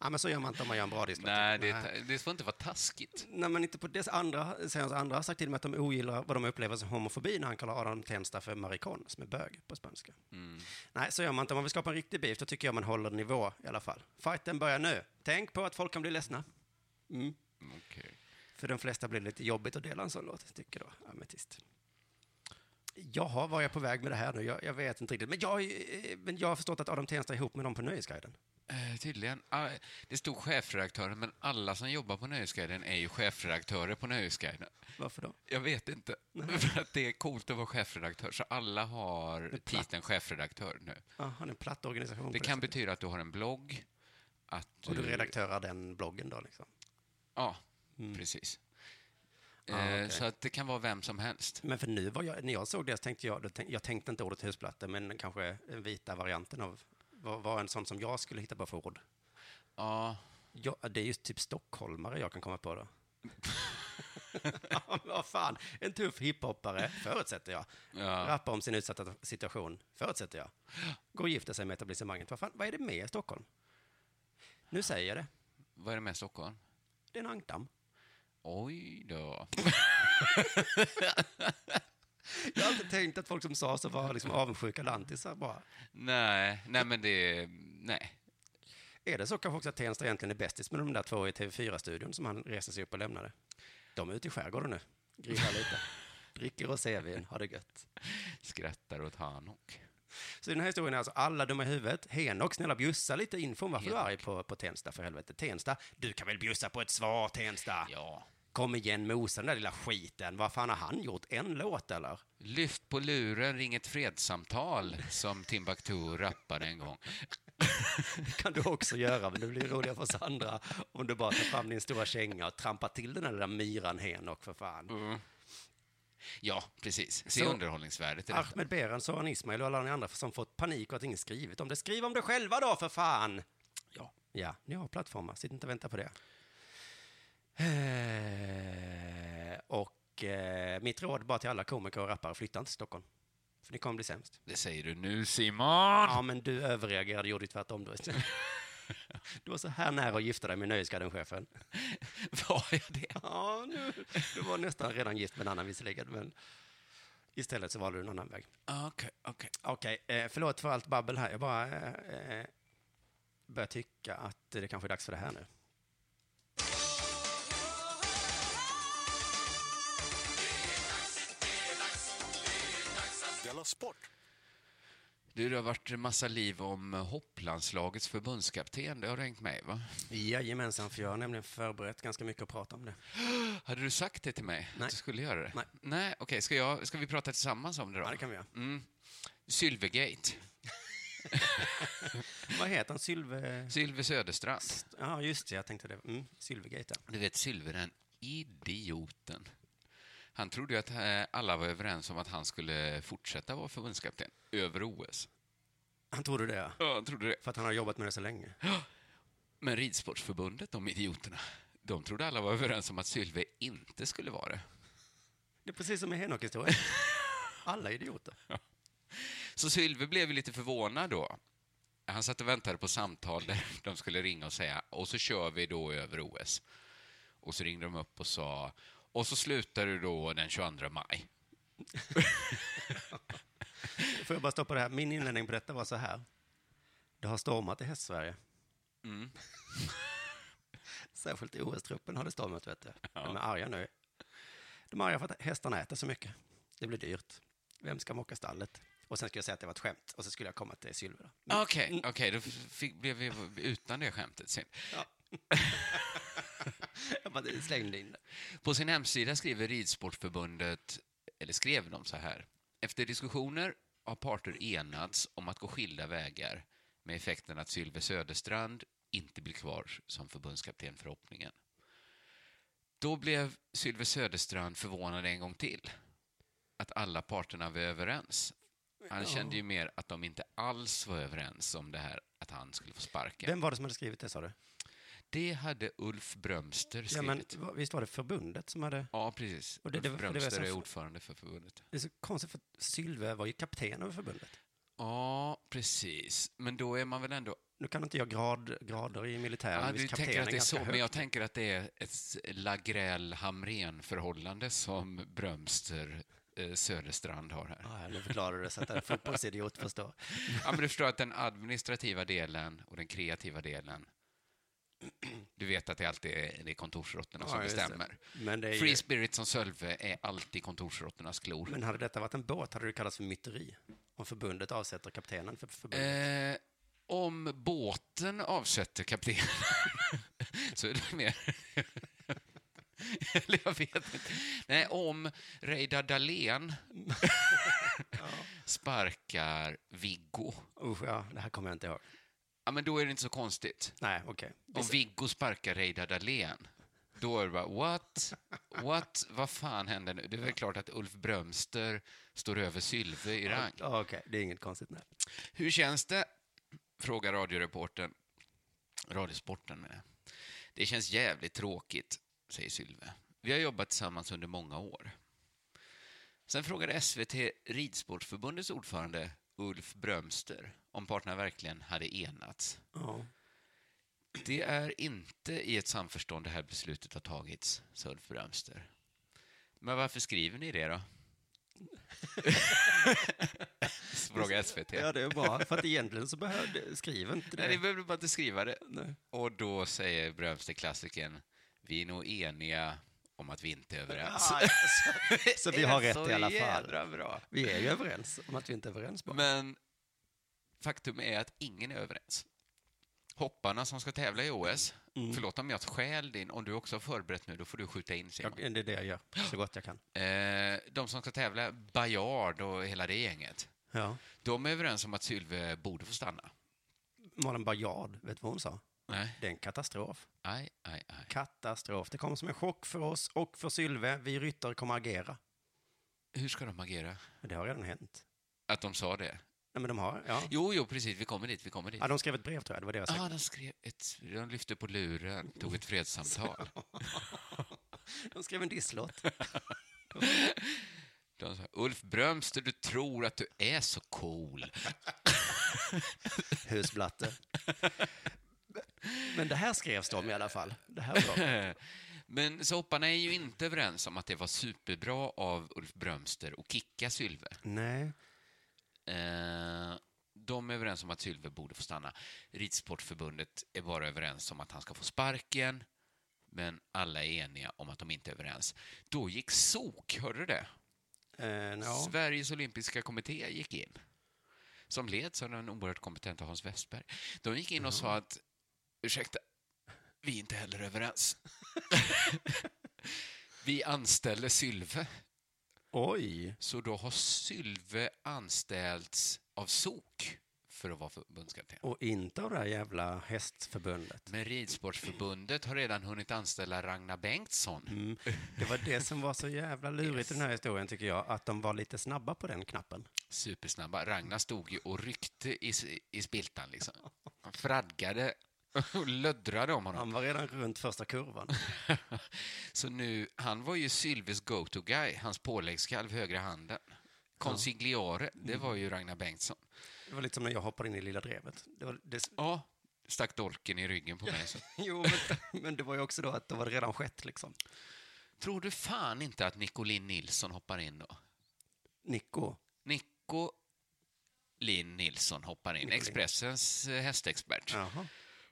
B: Ja, men så gör man inte om man gör en bra disslåt.
C: Nej, det, det får inte vara taskigt.
B: Nej, men inte på dess andra, säger hans andra har sagt till mig att de ogillar vad de upplever som homofobi när han kallar Adam Tensta för maricon, som är bög på spanska.
C: Mm.
B: Nej, så gör man inte. Om man vill skapa en riktig beef, då tycker jag man håller nivå i alla fall. Fighten börjar nu. Tänk på att folk kan bli ledsna. Mm.
C: Okej.
B: För de flesta blir det lite jobbigt att dela en sån låt, tycker då Ametist. Jaha, var jag på väg med det här nu? Jag, jag vet inte riktigt. Men jag, eh, men jag har förstått att Adam Tensta är ihop med dem på Nöjesguiden.
C: Eh, tydligen. Ah, det stod chefredaktören, men alla som jobbar på Nöjesguiden är ju chefredaktörer på Nöjesguiden.
B: Varför då?
C: Jag vet inte. För att det är coolt att vara chefredaktör, så alla har titeln chefredaktör nu.
B: Ja, han är en platt organisation.
C: Det
B: på
C: kan
B: sättet.
C: betyda att du har en blogg, att du...
B: Och du redaktörar den bloggen då, liksom?
C: Ja, precis.
B: Mm. Ah,
C: eh,
B: okej.
C: Så att det kan vara vem som helst.
B: Men för nu var jag, när jag såg det så tänkte jag, då tänk, jag tänkte inte ordet husplatta, men kanske den vita varianten av, vad var en sån som jag skulle hitta på för ord?
C: Ja,
B: Ja, det är ju typ stockholmare jag kan komma på då. ja, men vad fan, en tuff hiphoppare, förutsätter jag.
C: Ja.
B: Rappar om sin utsatta situation, förutsätter jag. Går och gifter sig med etablissemanget. Vad fan, vad är det med Stockholm? Nu säger jag det,
C: vad är det med Stockholm?
B: det är en ankdamm.
C: Oj då.
B: Jag har alltid tänkt att folk som sa så var liksom avundsjuka lantisar bara.
C: nej, nej men det... Nej.
B: Är det så kanske också att Tensta egentligen är bästis med de där två i TV4-studion som han reste sig upp och lämnade? De är ute i skärgården nu, grillar lite, dricker och CVn, har det gött.
C: Skrattar åt Hanok.
B: Så den här historien är alltså alla dumma i huvudet. Henok, snälla bjussa lite info om varför du är
C: Henok.
B: arg på, på Tensta, för helvete. Tensta, du kan väl bjussa på ett svar, Tensta?
C: Ja.
B: Kom igen Mosa, den där lilla skiten. Vad fan har han gjort? En låt eller?
C: Lyft på luren, ring ett fredssamtal, som Timbuktu rappade en gång.
B: Det kan du också göra, men det blir roligare för oss andra om du bara tar fram din stora känga och trampar till den där lilla myran Henok för fan.
C: Ja, precis. Se
B: Så-
C: underhållningsvärdet i detta.
B: Ahmed Beran, Soran Ismail och alla ni andra som fått panik och att ingen skrivit om det. Skriv om det själva då, för fan!
C: Ja.
B: Ja, ni har plattformar. Sitt inte och vänta på det. Eh, och eh, mitt råd bara till alla komiker och rappare, flytta inte till Stockholm. För ni kommer bli sämst.
C: Det säger du nu, Simon!
B: Ja, men du överreagerade, gjorde ju tvärtom. Du, vet. du var så här nära att gifta dig med Nöjesgarden-chefen.
C: Var jag det?
B: Ja, nu, du var nästan redan gift med en annan visserligen, men istället så valde du en annan väg.
C: Ah, Okej, okej.
B: Okej, eh, förlåt för allt babbel här. Jag bara eh, eh, börjar tycka att det kanske är dags för det här nu.
A: Della Sport!
C: Du, det har varit en massa liv om eh, hopplandslagets förbundskapten. Det har hängt med, va?
B: Jajamensan, för jag har nämligen förberett ganska mycket att prata om det.
C: Hade du sagt det till mig?
B: Nej.
C: Att du skulle göra det?
B: Nej.
C: Nej, okej. Ska, jag- ska vi prata tillsammans om det då?
B: Ja, det kan vi göra.
C: Mm. Sylvegate.
B: Vad heter han? Sylve...
C: Sylve Söderstrand.
B: Ja, just det, jag tänkte det. Mm, Sylvegate, ja.
C: Du vet, Sylve den idioten. Han trodde ju att eh, alla var överens om att han skulle fortsätta vara förbundskapten över OS.
B: Han trodde det, ja.
C: Ja, han trodde det.
B: För att han har jobbat med det så länge.
C: Men Ridsportförbundet, de idioterna, de trodde alla var överens om att Sylve inte skulle vara det.
B: Det är precis som med Henok-historien. Alla idioter.
C: Så Sylve blev ju lite förvånad då. Han satt och väntade på samtal där de skulle ringa och säga och så kör vi då över OS. Och så ringde de upp och sa och så slutar du då den 22 maj.
B: Får jag bara stoppa det här? Min inledning på detta var så här. Det har stormat i Hästsverige.
C: Mm.
B: Särskilt i OS-truppen har det stormat, vet du. De är arga nu. De är arga för att hästarna äter så mycket. Det blir dyrt. Vem ska mocka stallet? Och sen skulle jag säga att det var ett skämt, och så skulle jag komma till Sylve. då. Men-
C: Okej, okej, då fick, blev vi utan det skämtet. Synd.
B: Jag bara slängde in det.
C: På sin hemsida skriver Ridsportförbundet, eller skrev de så här. Efter diskussioner har parter enats om att gå skilda vägar med effekten att Sylve Söderstrand inte blir kvar som förbundskapten för hoppningen. Då blev Sylve Söderstrand förvånad en gång till. Att alla parterna var överens. Han kände ju mer att de inte alls var överens om det här att han skulle få sparken.
B: Vem var det som hade skrivit det, sa du?
C: Det hade Ulf Brömster skrivit.
B: Ja, men, va- visst var det förbundet som hade...
C: Ja, precis.
B: Och det- det-
C: Ulf
B: det var
C: Brömster
B: som-
C: är ordförande för förbundet.
B: Det är så konstigt, för att Sylve var ju kapten över förbundet.
C: Ja, precis. Men då är man väl ändå...
B: Nu kan inte jag grad, grader i militären.
C: Ja,
B: visst,
C: du
B: kaptenen
C: tänker att det är
B: ganska
C: så,
B: hög.
C: men jag tänker att det är ett Lagrell-Hamrén-förhållande som Brömster eh, Söderstrand har här.
B: Ah, nu förklarar du det så att en fotbollsidiot förstår.
C: Ja, men du förstår att den administrativa delen och den kreativa delen, du vet att det alltid är det är kontorsråttorna som
B: Ja, just det.
C: bestämmer.
B: Men, det är ju,
C: Free Spirit som Sölve är alltid kontorsråttornas klor.
B: men hade detta varit en båt hade det kallats för myteri. Om förbundet avsätter kaptenen för förbundet.
C: Eh, om båten avsätter kaptenen så är det mer... Eller jag vet inte. Nej, om Reidar Dahlén sparkar Viggo,
B: Usch, ja, det här kommer jag inte ihåg.
C: ja, men då är det inte så konstigt.
B: Nej, okej.
C: Om Viggo sparkar Reidar Dahlén, då är det bara what? What? Vad fan händer nu? Det är väl klart att Ulf Brömster står över Sylve i rang.
B: Ja, Okej, det är inget konstigt. Nej.
C: Hur känns det? Frågar radioreportern. Radiosporten menar jag. Det känns jävligt tråkigt, säger Sylve. Vi har jobbat tillsammans under många år. Sen frågade SVT Ridsportförbundets ordförande Ulf Brömster om parterna verkligen hade enats.
B: Ja.
C: Det är inte i ett samförstånd det här beslutet har tagits, sa Ulf Brömster. Men varför skriver ni det då? Frågar SVT.
B: ja, det är bra. För att egentligen så behövde... Skriv inte det.
C: Nej, ni behövde bara inte skriva det.
B: Nej.
C: Och då säger Brömster-klassikern, vi är nog eniga om att vi inte är överens.
B: Ah, så, så vi har
C: Det är
B: rätt i alla
C: Så
B: fall.
C: jädra bra.
B: Vi är ju överens om att vi inte är överens bara.
C: Men faktum är att ingen är överens. hopparna som ska tävla i OS.
B: Mm.
C: Förlåt om jag stjäl din, om du också har förberett nu, då får du skjuta in Simon.
B: Jag, det är det jag gör, så gott jag kan.
C: Eh, de som ska tävla, Bajard och hela det gänget,
B: Ja.
C: de är överens om att Sylve borde få stanna.
B: Malin Baryard, vet du vad hon sa?
C: Nej,
B: Det är en katastrof.
C: aj, aj, aj.
B: Katastrof. Det kom som en chock för oss och för Sylve. Vi ryttare kommer agera.
C: Hur ska de agera?
B: Men Det har redan hänt.
C: Att de sa det?
B: Nej, men de har, ja.
C: Jo, jo, precis, vi kommer dit, vi kommer dit.
B: ja. De skrev ett brev, tror jag. Det var det jag sa.
C: Ja, ah, de skrev ett... De lyfte på luren, tog ett fredssamtal.
B: De skrev en disslåt.
C: De sa, Ulf Brömster, du tror att du är så cool.
B: Husblatte. Men det här skrevs de i alla fall. Det här var bra.
C: Men så hopparna är ju inte överens om att det var superbra av Ulf Brömster att kicka Sylve.
B: Nej.
C: Eh, de är överens om att Sylve borde få stanna. Ridsportförbundet är bara överens om att han ska få sparken, men alla är eniga om att de inte är överens. Då gick SOK, hörde du det?
B: Eh, no.
C: Sveriges olympiska kommitté gick in, som leds av den oerhört kompetenta Hans Westberg. De gick in och sa att, ursäkta, vi är inte heller överens. vi anställer Sylve,
B: Oj.
C: så då har Sylve anställts av SOK för att vara förbundskapten.
B: Och inte av det här jävla hästförbundet.
C: Men Ridsportförbundet har redan hunnit anställa Ragnar Bengtsson.
B: Mm. Det var det som var så jävla lurigt i den här historien, tycker jag. Att de var lite snabba på den knappen.
C: Supersnabba. Ragnar stod ju och ryckte i, s- i spiltan liksom. Han Fradgade och löddrade om honom.
B: Han var redan runt första kurvan.
C: Så nu, han var ju Sylves go-to-guy, hans påläggskalv, högra handen. Consigliore, det var ju Ragnar Bengtsson.
B: Det var lite som när jag hoppade in i Lilla Drevet. Det var, det,
C: Ja, stack dolken i ryggen på mig. Så.
B: jo, men, men det var ju också då att det var redan skett, liksom.
C: Tror du fan inte att Nicolin Nilsson hoppar in då?
B: Nico.
C: Nico Linn Nilsson hoppar in,
B: Nicolin.
C: Expressens eh, hästexpert.
B: Jaha.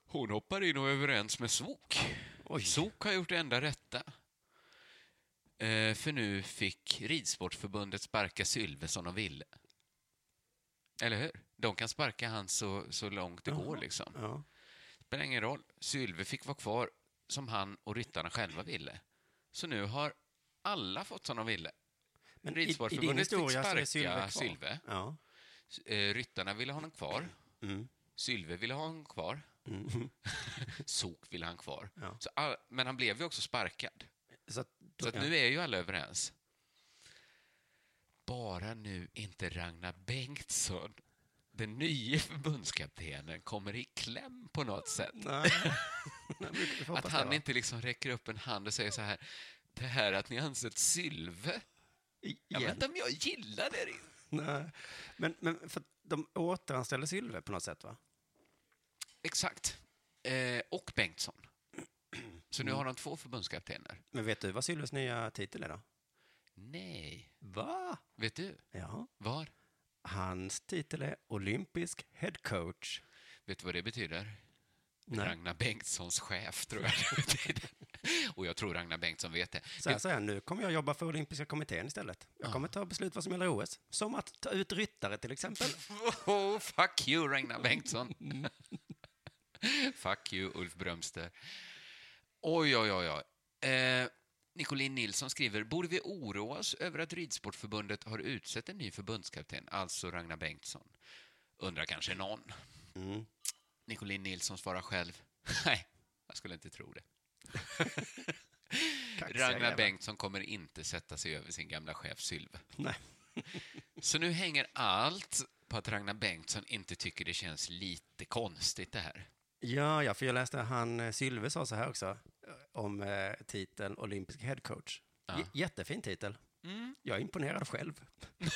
C: Hon hoppar in och är överens med Sok.
B: Oj.
C: Sok har gjort det enda rätta. Eh, för nu fick Ridsportförbundet sparka Sylve som de ville. Eller hur? De kan sparka han så, så långt det går. liksom.
B: Ja.
C: Spelar ingen roll. Sylve fick vara kvar som han och ryttarna själva ville. Så nu har alla fått som de ville.
B: Men
C: Ridsportförbundet fick sparka
B: kvar.
C: Sylve.
B: Ja.
C: S- Eh, ryttarna ville ha honom kvar.
B: Mm.
C: Sylve ville ha honom kvar.
B: Mm.
C: Sok ville ha honom kvar.
B: Ja.
C: Så all, men han blev ju också sparkad.
B: Så, att,
C: Så att
B: ja.
C: nu är ju alla överens. Bara nu inte Ragnar Bengtsson, den nya förbundskaptenen, kommer i kläm på något sätt.
B: Nej. Nej, vi får hoppas
C: Att
B: det,
C: han
B: va?
C: inte liksom räcker upp en hand och säger så här, det här att ni anställt Sylve,
B: I-
C: jag vet
B: igen.
C: inte om jag gillar det. riktigt."
B: Nej. Men, men för att de återanställde Sylve på något sätt, va?
C: Exakt. Eh, och Bengtsson. Så nu har de två förbundskaptener.
B: Men vet du vad Sylves nya titel är då?
C: Nej.
B: Va?
C: Vet du?
B: Ja.
C: Var?
B: Hans titel är olympisk head coach.
C: Vet du vad det betyder?
B: Nej.
C: Ragnar Bengtssons chef, tror jag det betyder. Och jag tror Ragnar Bengtsson vet det.
B: Så här säger han, nu kommer jag jobba för olympiska kommittén istället. Jag kommer ta beslut vad som gäller OS. Som att ta ut ryttare till exempel.
C: Oh, fuck you, Ragnar Bengtsson! fuck you, Ulf Brömster. Oj, oj, oj. oj. Eh, Nicolin Nilsson skriver, borde vi oroa oss över att Ridsportförbundet har utsett en ny förbundskapten, alltså Ragnar Bengtsson? Undrar kanske någon.
B: Mm.
C: Nicolin Nilsson svarar själv, nej, jag skulle inte tro det.
B: Kaxiga
C: Ragnar
B: jävlar.
C: Bengtsson kommer inte sätta sig över sin gamla chef Sylve.
B: Nej.
C: Så nu hänger allt på att Ragnar Bengtsson inte tycker det känns lite konstigt det här.
B: Ja, ja, för jag läste han eh, Sylve sa så här också eh, om eh, titeln olympisk head coach.
C: Ja. Mm.
B: J- Jättefin titel. Jag är imponerad själv.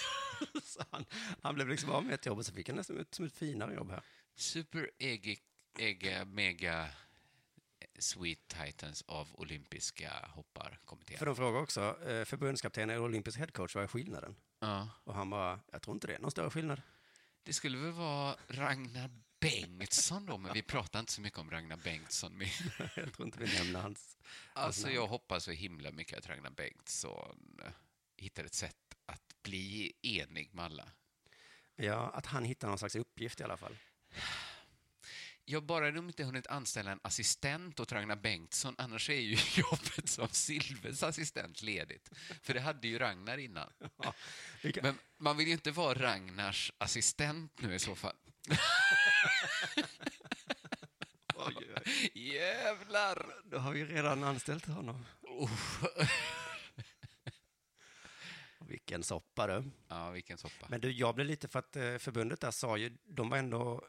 B: så han, han blev liksom av med ett jobb och så fick han nästan ett, som ett finare jobb här.
C: Super Ege, Ege Mega eh, Sweet Titans av olympiska hopparkommittén.
B: För de frågade också, eh, förbundskapten eller olympisk head coach, vad är skillnaden?
C: Ja.
B: Och han bara, jag tror inte det är någon större skillnad.
C: Det skulle väl vara Ragnar Bengtsson då, men vi pratar inte så mycket om Ragnar Bengtsson. Men
B: jag tror inte vi nämner hans.
C: alltså, jag hoppas så himla mycket att Ragnar Bengtsson eh, hittar ett sätt att bli enig med alla.
B: Ja, att han hittar någon slags uppgift i alla fall.
C: Jag bara de inte hunnit anställa en assistent åt Ragnar Bengtsson, annars är ju jobbet som Silves assistent ledigt. För det hade ju Ragnar innan.
B: Vi kan-
C: Men man vill ju inte vara Ragnars assistent nu i så fall.
B: Oj, oj, oj.
C: Jävlar!
B: Då har vi redan anställt honom. Vilken soppa du.
C: Ja, vilken soppa.
B: Men du, jag blev lite för att eh, förbundet där sa ju, de var ändå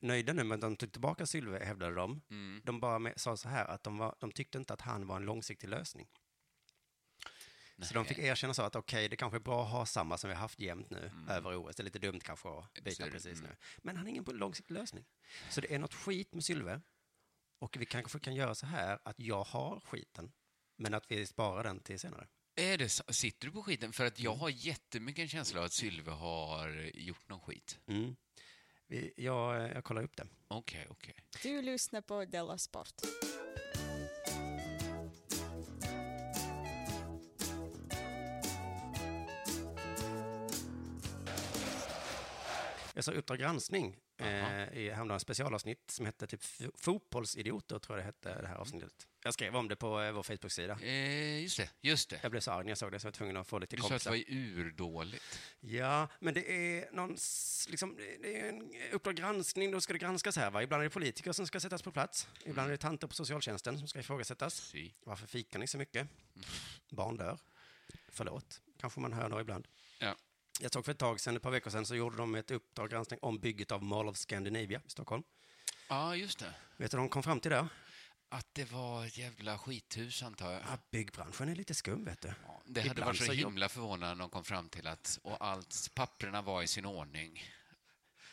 B: nöjda nu med att de tog tillbaka Sylve, hävdade de.
C: Mm.
B: De bara med, sa så här att de, var, de tyckte inte att han var en långsiktig lösning. Så de
C: Nej.
B: fick erkänna så att okej, det kanske är bra att ha samma som vi har haft jämt nu över OS. Det är lite dumt kanske att byta
C: Absolut,
B: precis
C: mm.
B: nu. Men han är ingen långsiktig lösning. Så det är något skit med Sylve. Och vi kanske kan göra så här att jag har skiten, men att vi sparar den till senare.
C: Är det, så- sitter du på skiten? För att jag har jättemycket en känsla av att Sylve har gjort någon skit.
B: Mm. Vi, jag, eh, jag kollar upp det.
C: Okej, okej.
D: Du lyssnar på Della Sport.
B: Jag sa Uppdrag granskning
C: Jaha.
B: eh, i häromdagen, ett specialavsnitt som hette typ f- Fotbollsidioter, tror jag det hette,
C: Mm.
B: det här avsnittet. Jag skrev om det på eh, vår Facebook-sida.
C: Eh, just det, just det.
B: Jag blev så arg när jag såg det så jag var tvungen att få det till
C: Du sa att det
B: kompisar.
C: var urdåligt.
B: Ja, men det är någon, s- liksom, det- det är en Uppdrag granskning, då ska det granskas här va? Ibland är det politiker som ska sättas på plats,
C: Mm.
B: ibland är det tanter på socialtjänsten som ska ifrågasättas.
C: Sy.
B: Varför fikar ni så mycket?
C: Mm.
B: Barn dör. Förlåt, kanske man hör några ibland.
C: Ja.
B: Jag såg för ett tag sedan, ett par veckor sedan, så gjorde de ett Uppdrag granskning om bygget av Mall of Scandinavia i Stockholm.
C: Ja, just det.
B: Vet du vad de kom fram till där?
C: Att det var ett jävla skithus, antar jag.
B: Ja, byggbranschen är lite skum, vet du.
C: Ja, Det hade
B: Ibland
C: varit så
B: så jobb-
C: himla förvånande om de kom fram till att och allt, papperna var i sin ordning.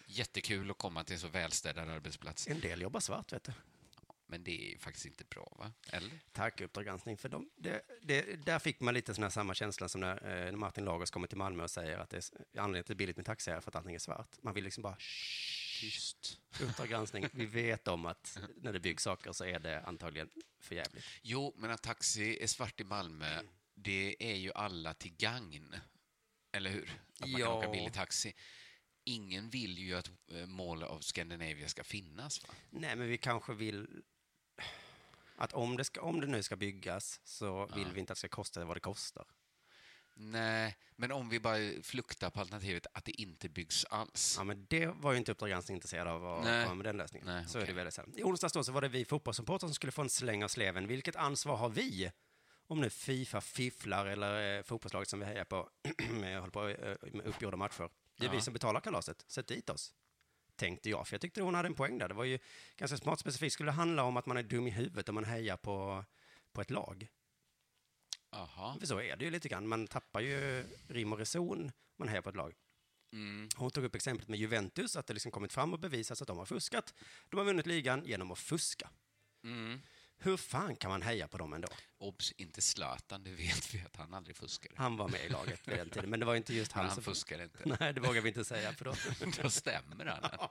C: Jättekul att komma till en så välstädad arbetsplats.
B: En del jobbar svart, vet du.
C: Men det är faktiskt inte bra, va? Eller?
B: Tack, Uppdrag granskning. För dem. Det, det, där fick man lite sån här samma känsla som när, eh, när Martin Lagers kommer till Malmö och säger att det är, s- anledningen till att det är billigt med taxi är för att allting är svart. Man vill liksom bara, "Shh,
C: Tyst.
B: Uppdrag granskning, vi vet om att när det byggs saker så är det antagligen för jävligt.
C: Jo, men att taxi är svart i Malmö, det är ju alla till gagn. Eller hur? Att man
B: Ja.
C: kan åka billig taxi. Ingen vill ju att eh, Mall of Scandinavia ska finnas. Va?
B: Nej, men vi kanske vill att om det, ska, om det nu ska byggas så vill vi inte att det ska kosta vad det kostar.
C: Nej, men om vi bara fluktar på alternativet att det inte byggs alls.
B: Ja, men det var ju inte Uppdrag granskning intresserad av att
C: Nej.
B: komma med den lösningen.
C: Nej,
B: så är det
C: okej.
B: väl sen. I onsdags då så var det vi fotbollssupportrar som skulle få en släng av sleven. Vilket ansvar har vi? Om nu Fifa fifflar eller eh, fotbollslaget som vi hejar på med- håller på eh, med uppgjorda matcher. Det är
C: Ja.
B: vi som betalar kalaset. Sätt dit oss. Tänkte jag, för jag tyckte hon hade en poäng där. Det var ju ganska smart specifikt. Skulle det handla om att man är dum i huvudet om man hejar på, på ett lag?
C: Jaha.
B: För så är det ju lite grann. Man tappar ju rim och reson om man hejar på ett lag.
C: Mm.
B: Hon tog upp exemplet med Juventus, att det liksom kommit fram och bevisats att de har fuskat. De har vunnit ligan genom att fuska.
C: Mm.
B: Hur fan kan man heja på dem ändå?
C: Obs, inte Zlatan, det vet vi att han aldrig fuskade.
B: Han var med i laget vid den tiden, men det var inte just
C: Men
B: han,
C: han
B: som...
C: fuskade inte.
B: Nej, det vågar vi inte säga, för då...
C: Då stämmer han.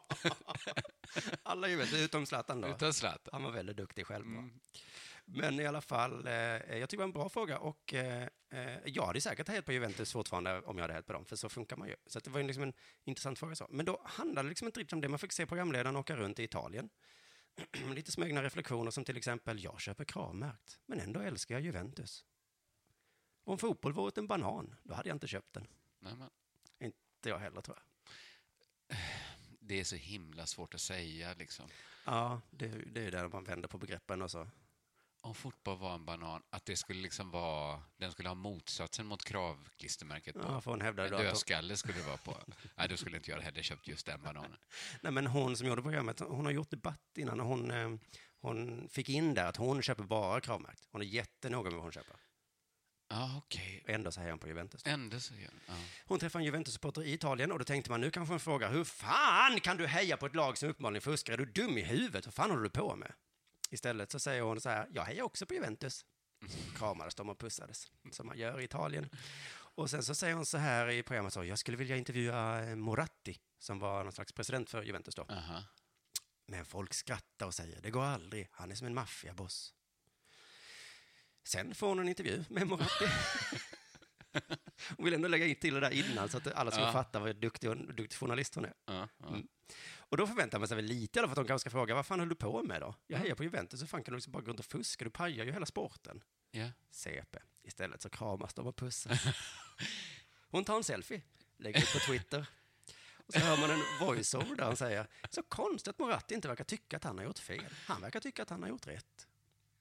B: Alla Juventus, utom Zlatan då.
C: Utan Zlatan. Mm.
B: Han var väldigt duktig själv. va? Men i alla fall, eh, jag tycker det var en bra fråga och eh, eh, jag hade säkert hejat på Juventus fortfarande om jag hade hejat på dem, för så funkar man ju. Så att det var ju liksom en intressant fråga. Så. Men då handlade det liksom inte riktigt om det. Man fick se programledaren åka runt i Italien. Lite smögna reflektioner som till exempel, jag köper kravmärkt, men ändå älskar jag Juventus. Om fotboll vore en banan, då hade jag inte köpt den.
C: Nej, men
B: Inte jag heller tror jag.
C: det är så himla svårt att säga liksom.
B: Ja, det, det är ju där man vänder på begreppen och så.
C: Om fotboll var en banan, att det skulle liksom vara, den skulle ha motsatsen mot kravklistermärket på.
B: Ja, för hon hävdade
C: En
B: då att hon-
C: dödskalle skulle det vara på. Nej, då skulle inte jag heller köpt just den bananen.
B: Nej, men hon som gjorde programmet, hon har gjort debatt innan och hon, eh, hon fick in där att hon köper bara Kravmärkt. Hon är jättenoga med vad hon köper.
C: Ja, okej.
B: Ändå så hejar hon på Juventus.
C: Ändå så gör ja.
B: Hon träffade en Juventus-supporter i Italien och då tänkte man, nu kanske hon frågar, hur fan kan du heja på ett lag som uppenbarligen fuskar? Är du dum i huvudet? Vad fan håller du på med? Istället så säger hon så här, jag hejar också på Juventus. Så Kramades de och pussades, som man gör i Italien. Och sen så säger hon så här i programmet, så, jag skulle vilja intervjua eh, Moratti, som var någon slags president för Juventus då.
C: Aha.
B: Men folk skrattar och säger det går aldrig, han är som en maffiaboss. Sen får hon en intervju med Moratti. Hon vill ändå lägga in till det där innan så att alla ska
C: Ja.
B: fatta vad duktig, hon- duktig journalist hon är.
C: Ja, ja.
B: Mm. Och då förväntar man sig väl lite i alla fall att de kanske ska fråga vad fan höll du på med då? Jag hejar på Juventus, hur fan kan du liksom bara gå runt och fuska? Du pajar ju hela sporten.
C: Ja.
B: CP. Istället så kramas de och pussas. Hon tar en selfie, lägger ut på Twitter. Och så hör man en voiceover där han säger så konstigt att Moratti inte verkar tycka att han har gjort fel. Han verkar tycka att han har gjort rätt.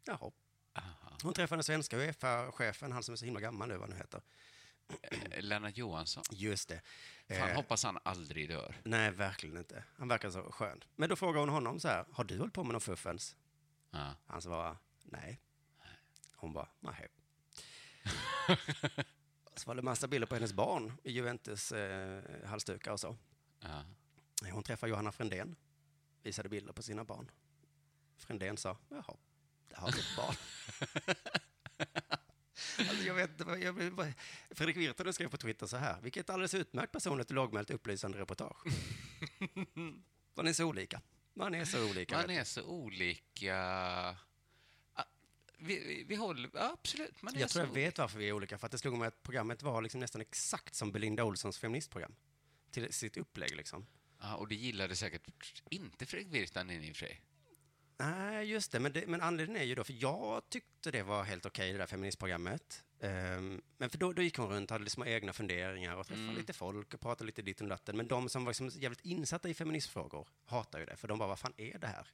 B: Jaha.
C: Aha.
B: Hon träffar den svenska Uefa-chefen, han som är så himla gammal nu, vad han nu heter.
C: Eh, Lennart Johansson.
B: Just det.
C: Fan,
B: Eh,
C: hoppas han aldrig dör.
B: nej, verkligen inte. Han verkar så skön. Men då frågar hon honom så här, har du hållit på med någon fuffens?
C: Ja.
B: Han svarade nej. Hon bara, nej. så var det massa bilder på hennes barn i Juventus eh, halsdukar och så.
C: Ja.
B: Hon träffade Johanna Frändén, visade bilder på sina barn. Frändén sa, jaha, det har blivit barn. Alltså jag vet, inte vad- jag, blir bara- Fredrik Virtanen skrev på Twitter så här, vilket alldeles utmärkt personligt och lågmält upplysande reportage. Man är så olika. Man är så olika. vet
C: Man
B: du.
C: är så olika... Ah, Vi, vi, vi håller... ja, Absolut, man är
B: Jag
C: så
B: tror jag vet varför vi är olika, för att det slog mig att programmet var liksom nästan exakt som Belinda Olssons feministprogram. Till sitt upplägg liksom.
C: Ja, och det gillade säkert inte Fredrik Virtanen i och för sig.
B: Nej, just det men, det. men anledningen är ju då, för jag tyckte det var helt okej det där feministprogrammet. Ehm, men för då, då gick hon runt och hade små egna funderingar och träffade lite folk och pratade lite dit och datten. Men de som var liksom jävligt insatta i feministfrågor hatar ju det, för de bara, vad fan är det här?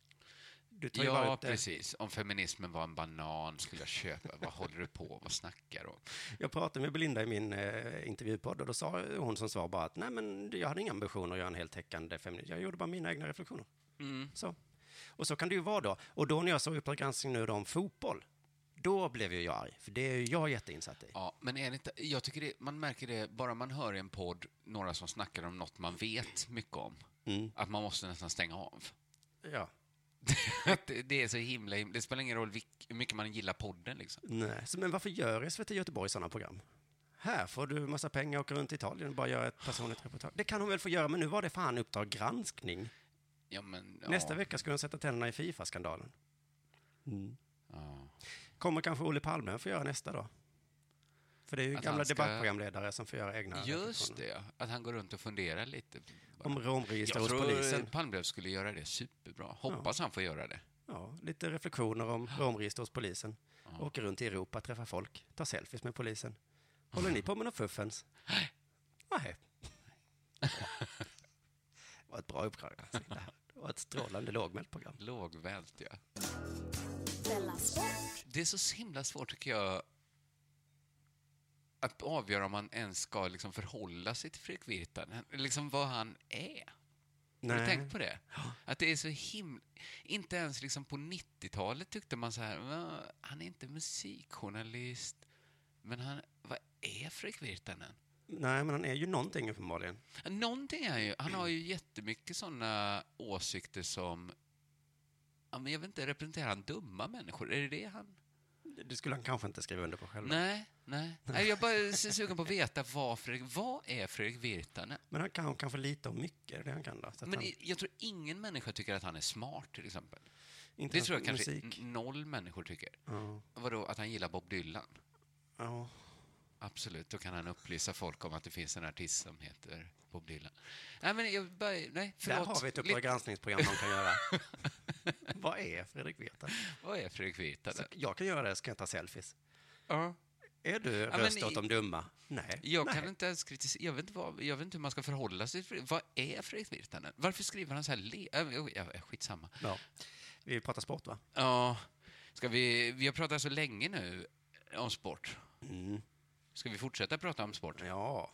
B: Du tar ju bara
C: Ja,
B: ut, eh,
C: precis. Om feminismen var en banan skulle jag köpa. Vad håller du på Vad snackar du om?
B: Jag pratade med Belinda i min eh, intervjupodd och då sa hon som svar bara att nej men jag hade inga ambitioner att göra en heltäckande feminist. Jag gjorde bara mina egna reflektioner. Så. Och så kan det ju vara då. Och då när jag såg Uppdrag granskning nu då om fotboll, då blev ju jag arg. För det är ju jag jätteinsatt i.
C: Ja, men är det inte, jag tycker det, man märker det bara man hör i en podd några som snackar om något man vet mycket om.
B: Mm.
C: Att man måste nästan stänga av.
B: Ja.
C: Att det- det är så himla, himla det spelar ingen roll vilk, hur mycket man gillar podden liksom.
B: Nej. Så, men varför gör SVT Göteborg sådana program? Här får du massa pengar och åker runt i Italien och bara göra ett personligt reportage. Det kan hon väl få göra, men nu var det fan Uppdrag granskning.
C: Ja, men, ja.
B: Nästa vecka ska hon sätta tänderna i Fifa-skandalen.
C: Mm. Ja.
B: Kommer kanske Olle Palme få göra nästa då? För det är ju
C: Att
B: gamla
C: han ska-
B: debattprogramledare som får göra egna
C: Just
B: reflektioner.
C: det, ja. att han går runt och funderar lite.
B: Om romregister
C: Jag
B: hos
C: tror
B: polisen.
C: Palmlöv skulle göra det superbra. Hoppas han får göra det.
B: Ja, lite reflektioner om romregister hos polisen. Åker runt i Europa, träffar folk, tar selfies med polisen. Håller ni på med något fuffens? Nej. Det var ett bra uppdrag. Alltså. Det här var ett strålande lågmält program.
C: Lågvält, ja.
D: Della Sport.
C: Det är så himla svårt, tycker jag, att avgöra om man ens ska liksom förhålla sig till Fredrik Virtanen. Liksom vad han är. Har du tänkt på det? Att det är så himla... Inte ens liksom på 90-talet tyckte man så här, "Va, han är inte musikjournalist, men han... Vad är Fredrik Virtanen?
B: Nej, men han är ju någonting uppenbarligen.
C: Någonting är han ju. Han har ju jättemycket sådana åsikter som... Ja, men jag vet inte, representerar han dumma människor? Är det det han...
B: Det skulle han kanske inte skriva under på själv.
C: Nej, nej. nej jag bara är så sugen på att veta vad, Fredrik, vad är Fredrik Virtanen?
B: Men han kan kanske lite om mycket, det han kan då. Så att
C: Men
B: han,
C: i- jag tror ingen människa tycker att han är smart, till exempel.
B: inte
C: Det
B: ens
C: tror jag kanske
B: musik.
C: n- noll människor tycker.
B: Ja.
C: Vadå, att han gillar Bob Dylan?
B: Ja.
C: Absolut, då kan han upplysa folk om att det finns en artist som heter Bob Dylan. Nej, men jag bara... Nej, förlåt.
B: Där har vi ett Uppdrag
C: Lite-
B: granskningsprogram man kan göra. Vad är Fredrik Virtanen?
C: Vad är Fredrik
B: Så
C: Virtanen?
B: Alltså, Jag kan göra det, så kan jag ta selfies.
C: Ja.
B: Är du
C: men
B: röst
C: i-
B: åt de dumma? Nej.
C: Jag
B: Nej.
C: kan inte ens kritisera. Jag vet inte, vad, jag vet inte hur man ska förhålla sig. till- Vad är Fredrik Virtanen? Varför skriver han så här? Le- äh, äh, äh, äh, skitsamma.
B: Ja. Vi pratar sport, va?
C: Ja, ska vi... Vi har pratat så länge nu om sport.
B: Mm.
C: Ska vi fortsätta prata om sport?
B: Ja.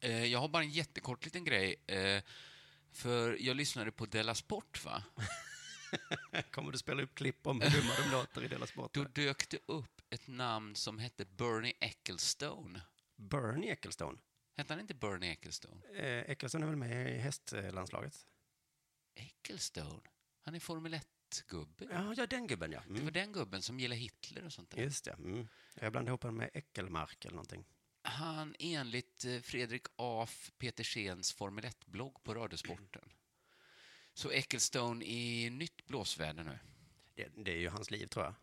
C: Eh, jag har bara en jättekort liten grej. Eh, för jag lyssnade på Della Sport, va?
B: Kommer du spela upp klipp om hur dumma de låter i Dela Sport?
C: Då dök det upp ett namn som hette Bernie Ecclestone.
B: Bernie Ecclestone.
C: Hette han inte Bernie Ecclestone?
B: Eh, Ecclestone är väl med i hästlandslaget?
C: Ecclestone? Han är Formel 1-gubbe.
B: Ja, ja, den gubben, ja.
C: Det var
B: Mm.
C: den gubben som gillade Hitler och sånt där.
B: Just det. Mm. Jag blandade ihop honom med Eckelmark eller någonting.
C: han enligt eh, Fredrik Af Petersens Formel 1-blogg på Radiosporten. Så Ecclestone i nytt blåsväder nu.
B: Det, det är ju hans liv, tror jag.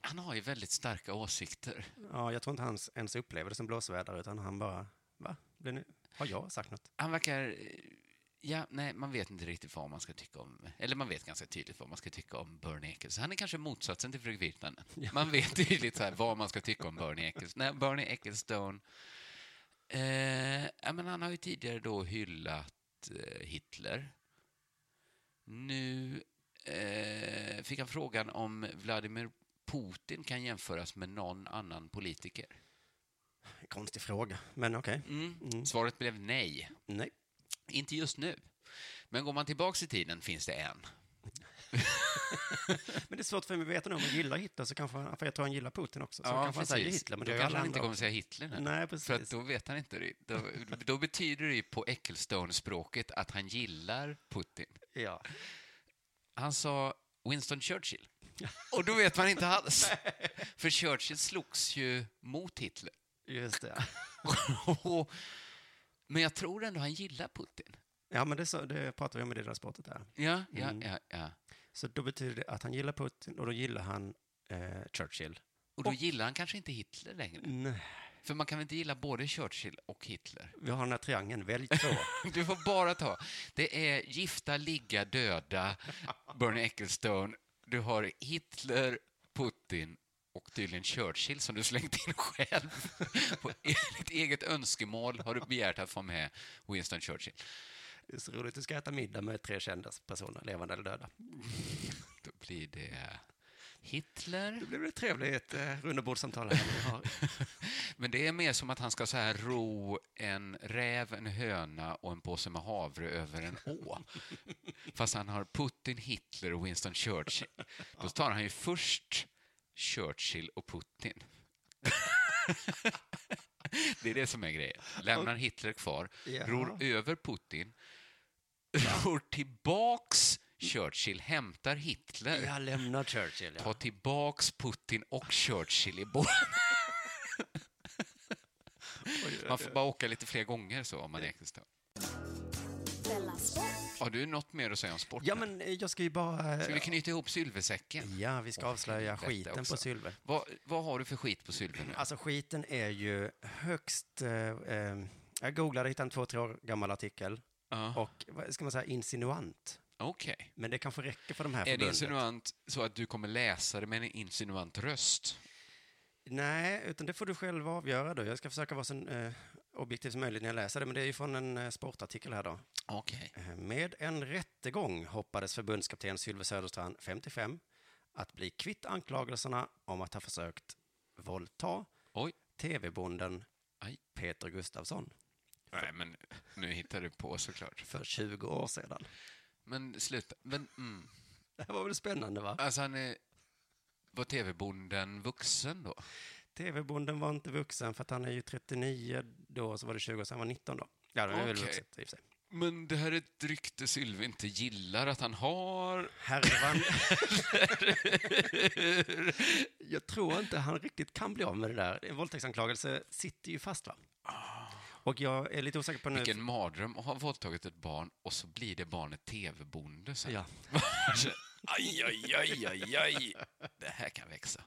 C: Han har ju väldigt starka åsikter.
B: Ja, jag tror inte han ens upplever det som blåsväder, utan han bara, va? Blir ni, har jag sagt något?
C: Han verkar... eh, Ja, nej, man vet inte riktigt vad man ska tycka om... Eller man vet ganska tydligt vad man ska tycka om Bernie Eccles. Han är kanske motsatsen till Fredrik Virtanen. Man vet tydligt så här, vad man ska tycka om Bernie Eccles. Nej, Bernie Ecclestone... Eh, ja, men han har ju tidigare då hyllat eh, Hitler. Nu eh, fick han frågan om Vladimir Putin kan jämföras med någon annan politiker.
B: Konstig fråga, men okej.
C: Mm.
B: Mm.
C: Svaret blev nej.
B: Nej.
C: Inte just nu. Men går man tillbaks i tiden finns det en.
B: Men det är svårt för mig att veta nu om han gillar Hitler, så kanske han, för jag tror han gillar Putin också, så kanske han säger Hitler, men
C: då Mm,
B: det är ju
C: kanske
B: alla
C: han inte
B: andra
C: kommer säga Hitler nu.
B: Nej,
C: För att
B: precis.
C: då vet han inte. det. Då, då betyder det ju på Ecclestone-språket att han gillar Putin.
B: Ja.
C: Han sa Winston Churchill. Och då vet man inte alls. För Churchill slogs ju mot Hitler.
B: Just det. ja.
C: Och- Men jag tror ändå han gillar Putin.
B: Ja, men det, så, det pratar vi om i det där spottet där.
C: Ja, ja,
B: Mm.
C: ja, ja.
B: Så då betyder det att han gillar Putin och då gillar han eh, Churchill.
C: Och då gillar han kanske inte Hitler längre.
B: Nej.
C: För man kan väl inte gilla både Churchill och Hitler?
B: Vi har den här triangeln, välj två.
C: Du får bara ta. Det är gifta, ligga, döda, Bernie Ecclestone. Du har Hitler, Putin och tydligen Churchill som du slängt in själv. På e- ditt eget önskemål har du begärt att få med Winston Churchill.
B: Det är så roligt, du ska äta middag med tre kända personer, levande eller döda.
C: Då blir det Hitler.
B: Det blir väl ett trevligt eh, rundabordssamtal här. när vi har-
C: Men det är mer som att han ska så här ro en räv, en höna och en påse med havre över en å. Fast han har Putin, Hitler och Winston Churchill. Då tar han ju först Churchill och Putin. Det är det som är grejen. Lämnar Hitler kvar,
B: Ja.
C: ror över Putin, ror tillbaks Churchill, hämtar Hitler.
B: Jag lämnar Churchill,
C: Ta
B: ja.
C: tillbaks Putin och Churchill i båten. Man får bara åka lite fler gånger så om man är Ecclestone.
D: Della Sport,
C: Har du något mer att säga om sporten?
B: Ja, men eh, jag ska ju bara...
C: Ska vi knyta ihop sylversäcken?
B: Ja, vi ska
C: Åh,
B: avslöja
C: helvete
B: skiten
C: också.
B: på Sylver.
C: Vad, vad har du för skit på sylver nu?
B: Alltså skiten är ju högst... Eh, eh, jag googlade, hittade en två, tre år gammal artikel.
C: Ja,
B: Och, vad ska man säga, insinuant.
C: Okej.
B: Men det kanske räcker för de här
C: Är det
B: förbunden.
C: insinuant så att du kommer läsa det med en insinuant röst?
B: Nej, utan det får du själv avgöra då. Jag ska försöka vara så eh, objektiv som möjligt när jag läser det, men det är ju från en eh, sportartikel här då.
C: Okej.
B: Eh, Med en rättegång hoppades förbundskapten Sylve Söderstrand, 55, att bli kvitt anklagelserna om att ha försökt våldta
C: Oj.
B: TV-bonden
C: Aj.
B: Peter Gustafsson
C: Nej, men nu hittar du på såklart.
B: för 20 år sedan.
C: Men sluta. Men, mm.
B: Det här var väl spännande, va?
C: Alltså, han är... Var TV-bonden vuxen då?
B: TV-bonden var inte vuxen för att han är ju 39 då, så var det 20 år sedan, han var 19 då. Ja, det är väl
C: Okej.
B: vuxet i och för sig.
C: Men det här är ett rykte Sylve inte gillar att han har.
B: Härvan. jag tror inte han riktigt kan bli av med det där. En våldtäktsanklagelse sitter ju fast, va? Och jag är lite osäker på nu...
C: Ah. Vilken mardröm att ha våldtagit ett barn och så blir det barnet TV-bonde sen.
B: Ja.
C: aj, aj, aj, aj, aj. Det här kan växa.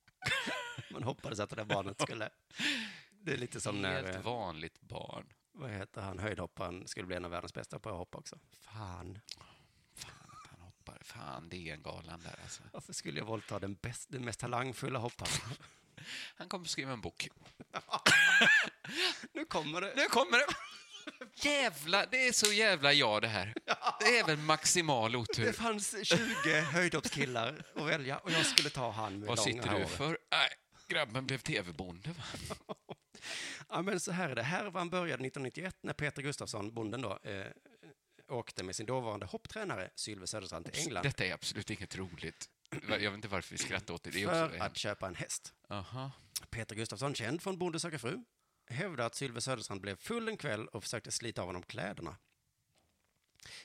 B: Man hoppades att det där barnet skulle... Det är lite som när,
C: Helt
B: eh,
C: vanligt barn.
B: vad heter han, höjdhopparen skulle bli en av världens bästa på att hoppa också. Fan,
C: Fan att han hoppar. Fan, det är en galan där alltså.
B: varför skulle jag våldta den, bäst, den mest talangfulla hopparen?
C: Han kommer skriva en bok.
B: nu kommer det.
C: Nu kommer det! Jävla, det är så jävla ja det här. Det är väl maximal
B: Det
C: otur.
B: fanns 20 höjdhoppskillar att välja och jag skulle ta han med
C: Vad
B: långa
C: sitter du
B: håret.
C: för? Nej, grabben blev TV-bonde va?
B: Ja, men så här är det. Härvan började 1991 när Peter Gustafsson, bonden då, eh, åkte med sin dåvarande hopptränare Sylve Söderstrand till England
C: Detta är absolut inget roligt. Jag vet inte varför vi skrattar åt det. det är också
B: för
C: hemskt.
B: att köpa en häst.
C: Aha.
B: Peter Gustafsson, känd från Bonde söker fru, hävdar att Sylve Söderstrand blev full en kväll och försökte slita av honom kläderna.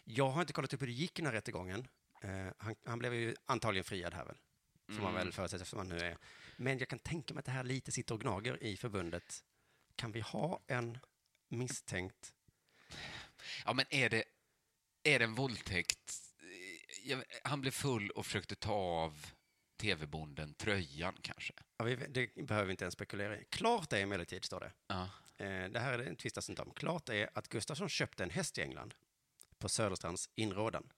B: Jag har inte kollat upp hur det gick i den här rättegången. Eh, han, han blev ju antagligen friad här väl, får
C: Mm.
B: man väl förutsätta eftersom han nu är. Men jag kan tänka mig att det här lite sitter och gnager i förbundet. Kan vi ha en misstänkt
C: Ja, men är det, är det en våldtäkt? Eh, Jag, han blev full och försökte ta av TV-bonden tröjan kanske.
B: Ja, vi, det behöver vi inte ens spekulera i. Klart är emellertid, står det.
C: Ja.
B: Eh, det här är- tvistas inte om. Klart är att Gustafsson köpte en häst i England på Söderstrands inrådan.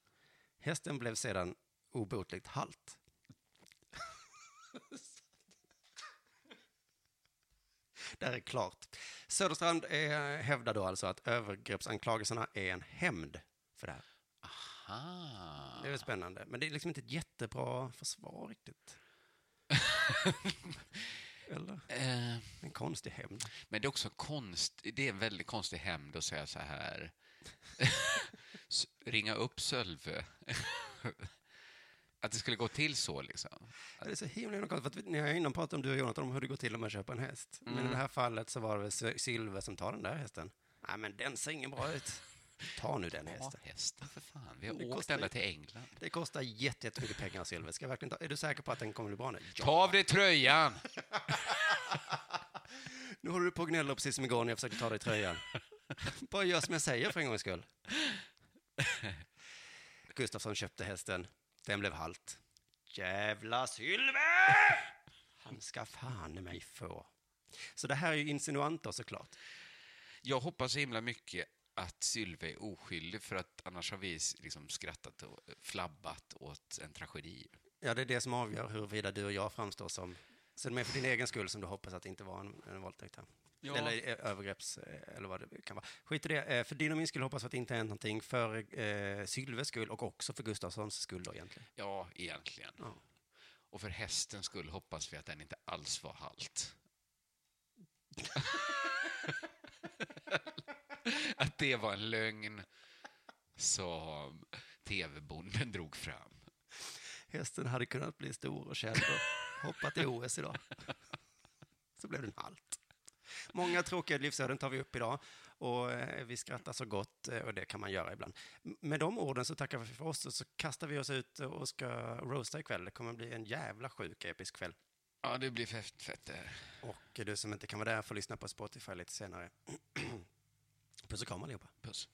B: Hästen blev sedan obotligt halt. det här är klart. Söderstrand eh, hävdar då alltså att övergreppsanklagelserna är en hämnd för det här.
C: Aha.
B: Det är väl spännande, men det är liksom inte ett jättebra försvar riktigt. Eller?
C: Eh,
B: En konstig hämnd.
C: Men det är också konst, det är en väldigt konstig hämnd att säga så här. S- Ringa upp Sölve. att det skulle gå till så liksom.
B: Ja, Det är så himla himla konstigt, för att ni har ju innan pratat om du och Jonathan om hur det går till om man köper en häst. Men i
C: Mm.
B: det här fallet så var det väl Sy- Sylve som tar den där hästen. Nej, men den ser ingen bra ut. Ta nu den
C: Ja,
B: hästen.
C: hästen för fan. Vi
B: Det
C: har åkt
B: kostar
C: ända
B: ju-
C: till England.
B: Det kostar jätte- jättemycket pengar, Sylve. Ska jag verkligen ta? Är du säker på att den kommer bli bra nu? Ja.
C: Ta av dig tröjan!
B: Nu håller du på och gnäller precis som igår när jag försökte ta dig i tröjan. Bara gör som jag säger för en gångs skull. Gustafsson köpte hästen. Den blev halt. Jävla Sylve! Han ska fan i mig få. Så det här är ju insinuant då såklart.
C: Jag hoppas så himla mycket att Sylve är oskyldig för att annars har vi s- liksom skrattat och flabbat åt en tragedi.
B: Ja, det är det som avgör huruvida du och jag framstår som... Så det är för din egen skull som du hoppas att det inte var en, en våldtäkt här.
C: Ja.
B: Eller eh, övergrepps... eh, Eller vad det kan vara. Skit i det. Eh, För din och min skull hoppas vi att det inte hänt någonting. För eh, Sylves skull och också för Gustafssons skull då egentligen.
C: Ja, egentligen.
B: Ja.
C: Och för hästens skull hoppas vi att den inte alls var halt. att det var en lögn som tv-bonden drog fram.
B: Hästen hade kunnat bli stor och känd och hoppat i OS idag. Så blev den halt. Många tråkiga livsöden tar vi upp idag och eh, vi skrattar så gott eh, och det kan man göra ibland. M- Med de orden så tackar vi för oss och så kastar vi oss ut och ska roasta ikväll. Det kommer bli en jävla sjuk episk kväll.
C: Ja, det blir fett, fett det här.
B: Och du som inte kan vara där får lyssna på Spotify lite senare. Puss och kram allihopa.
C: Puss.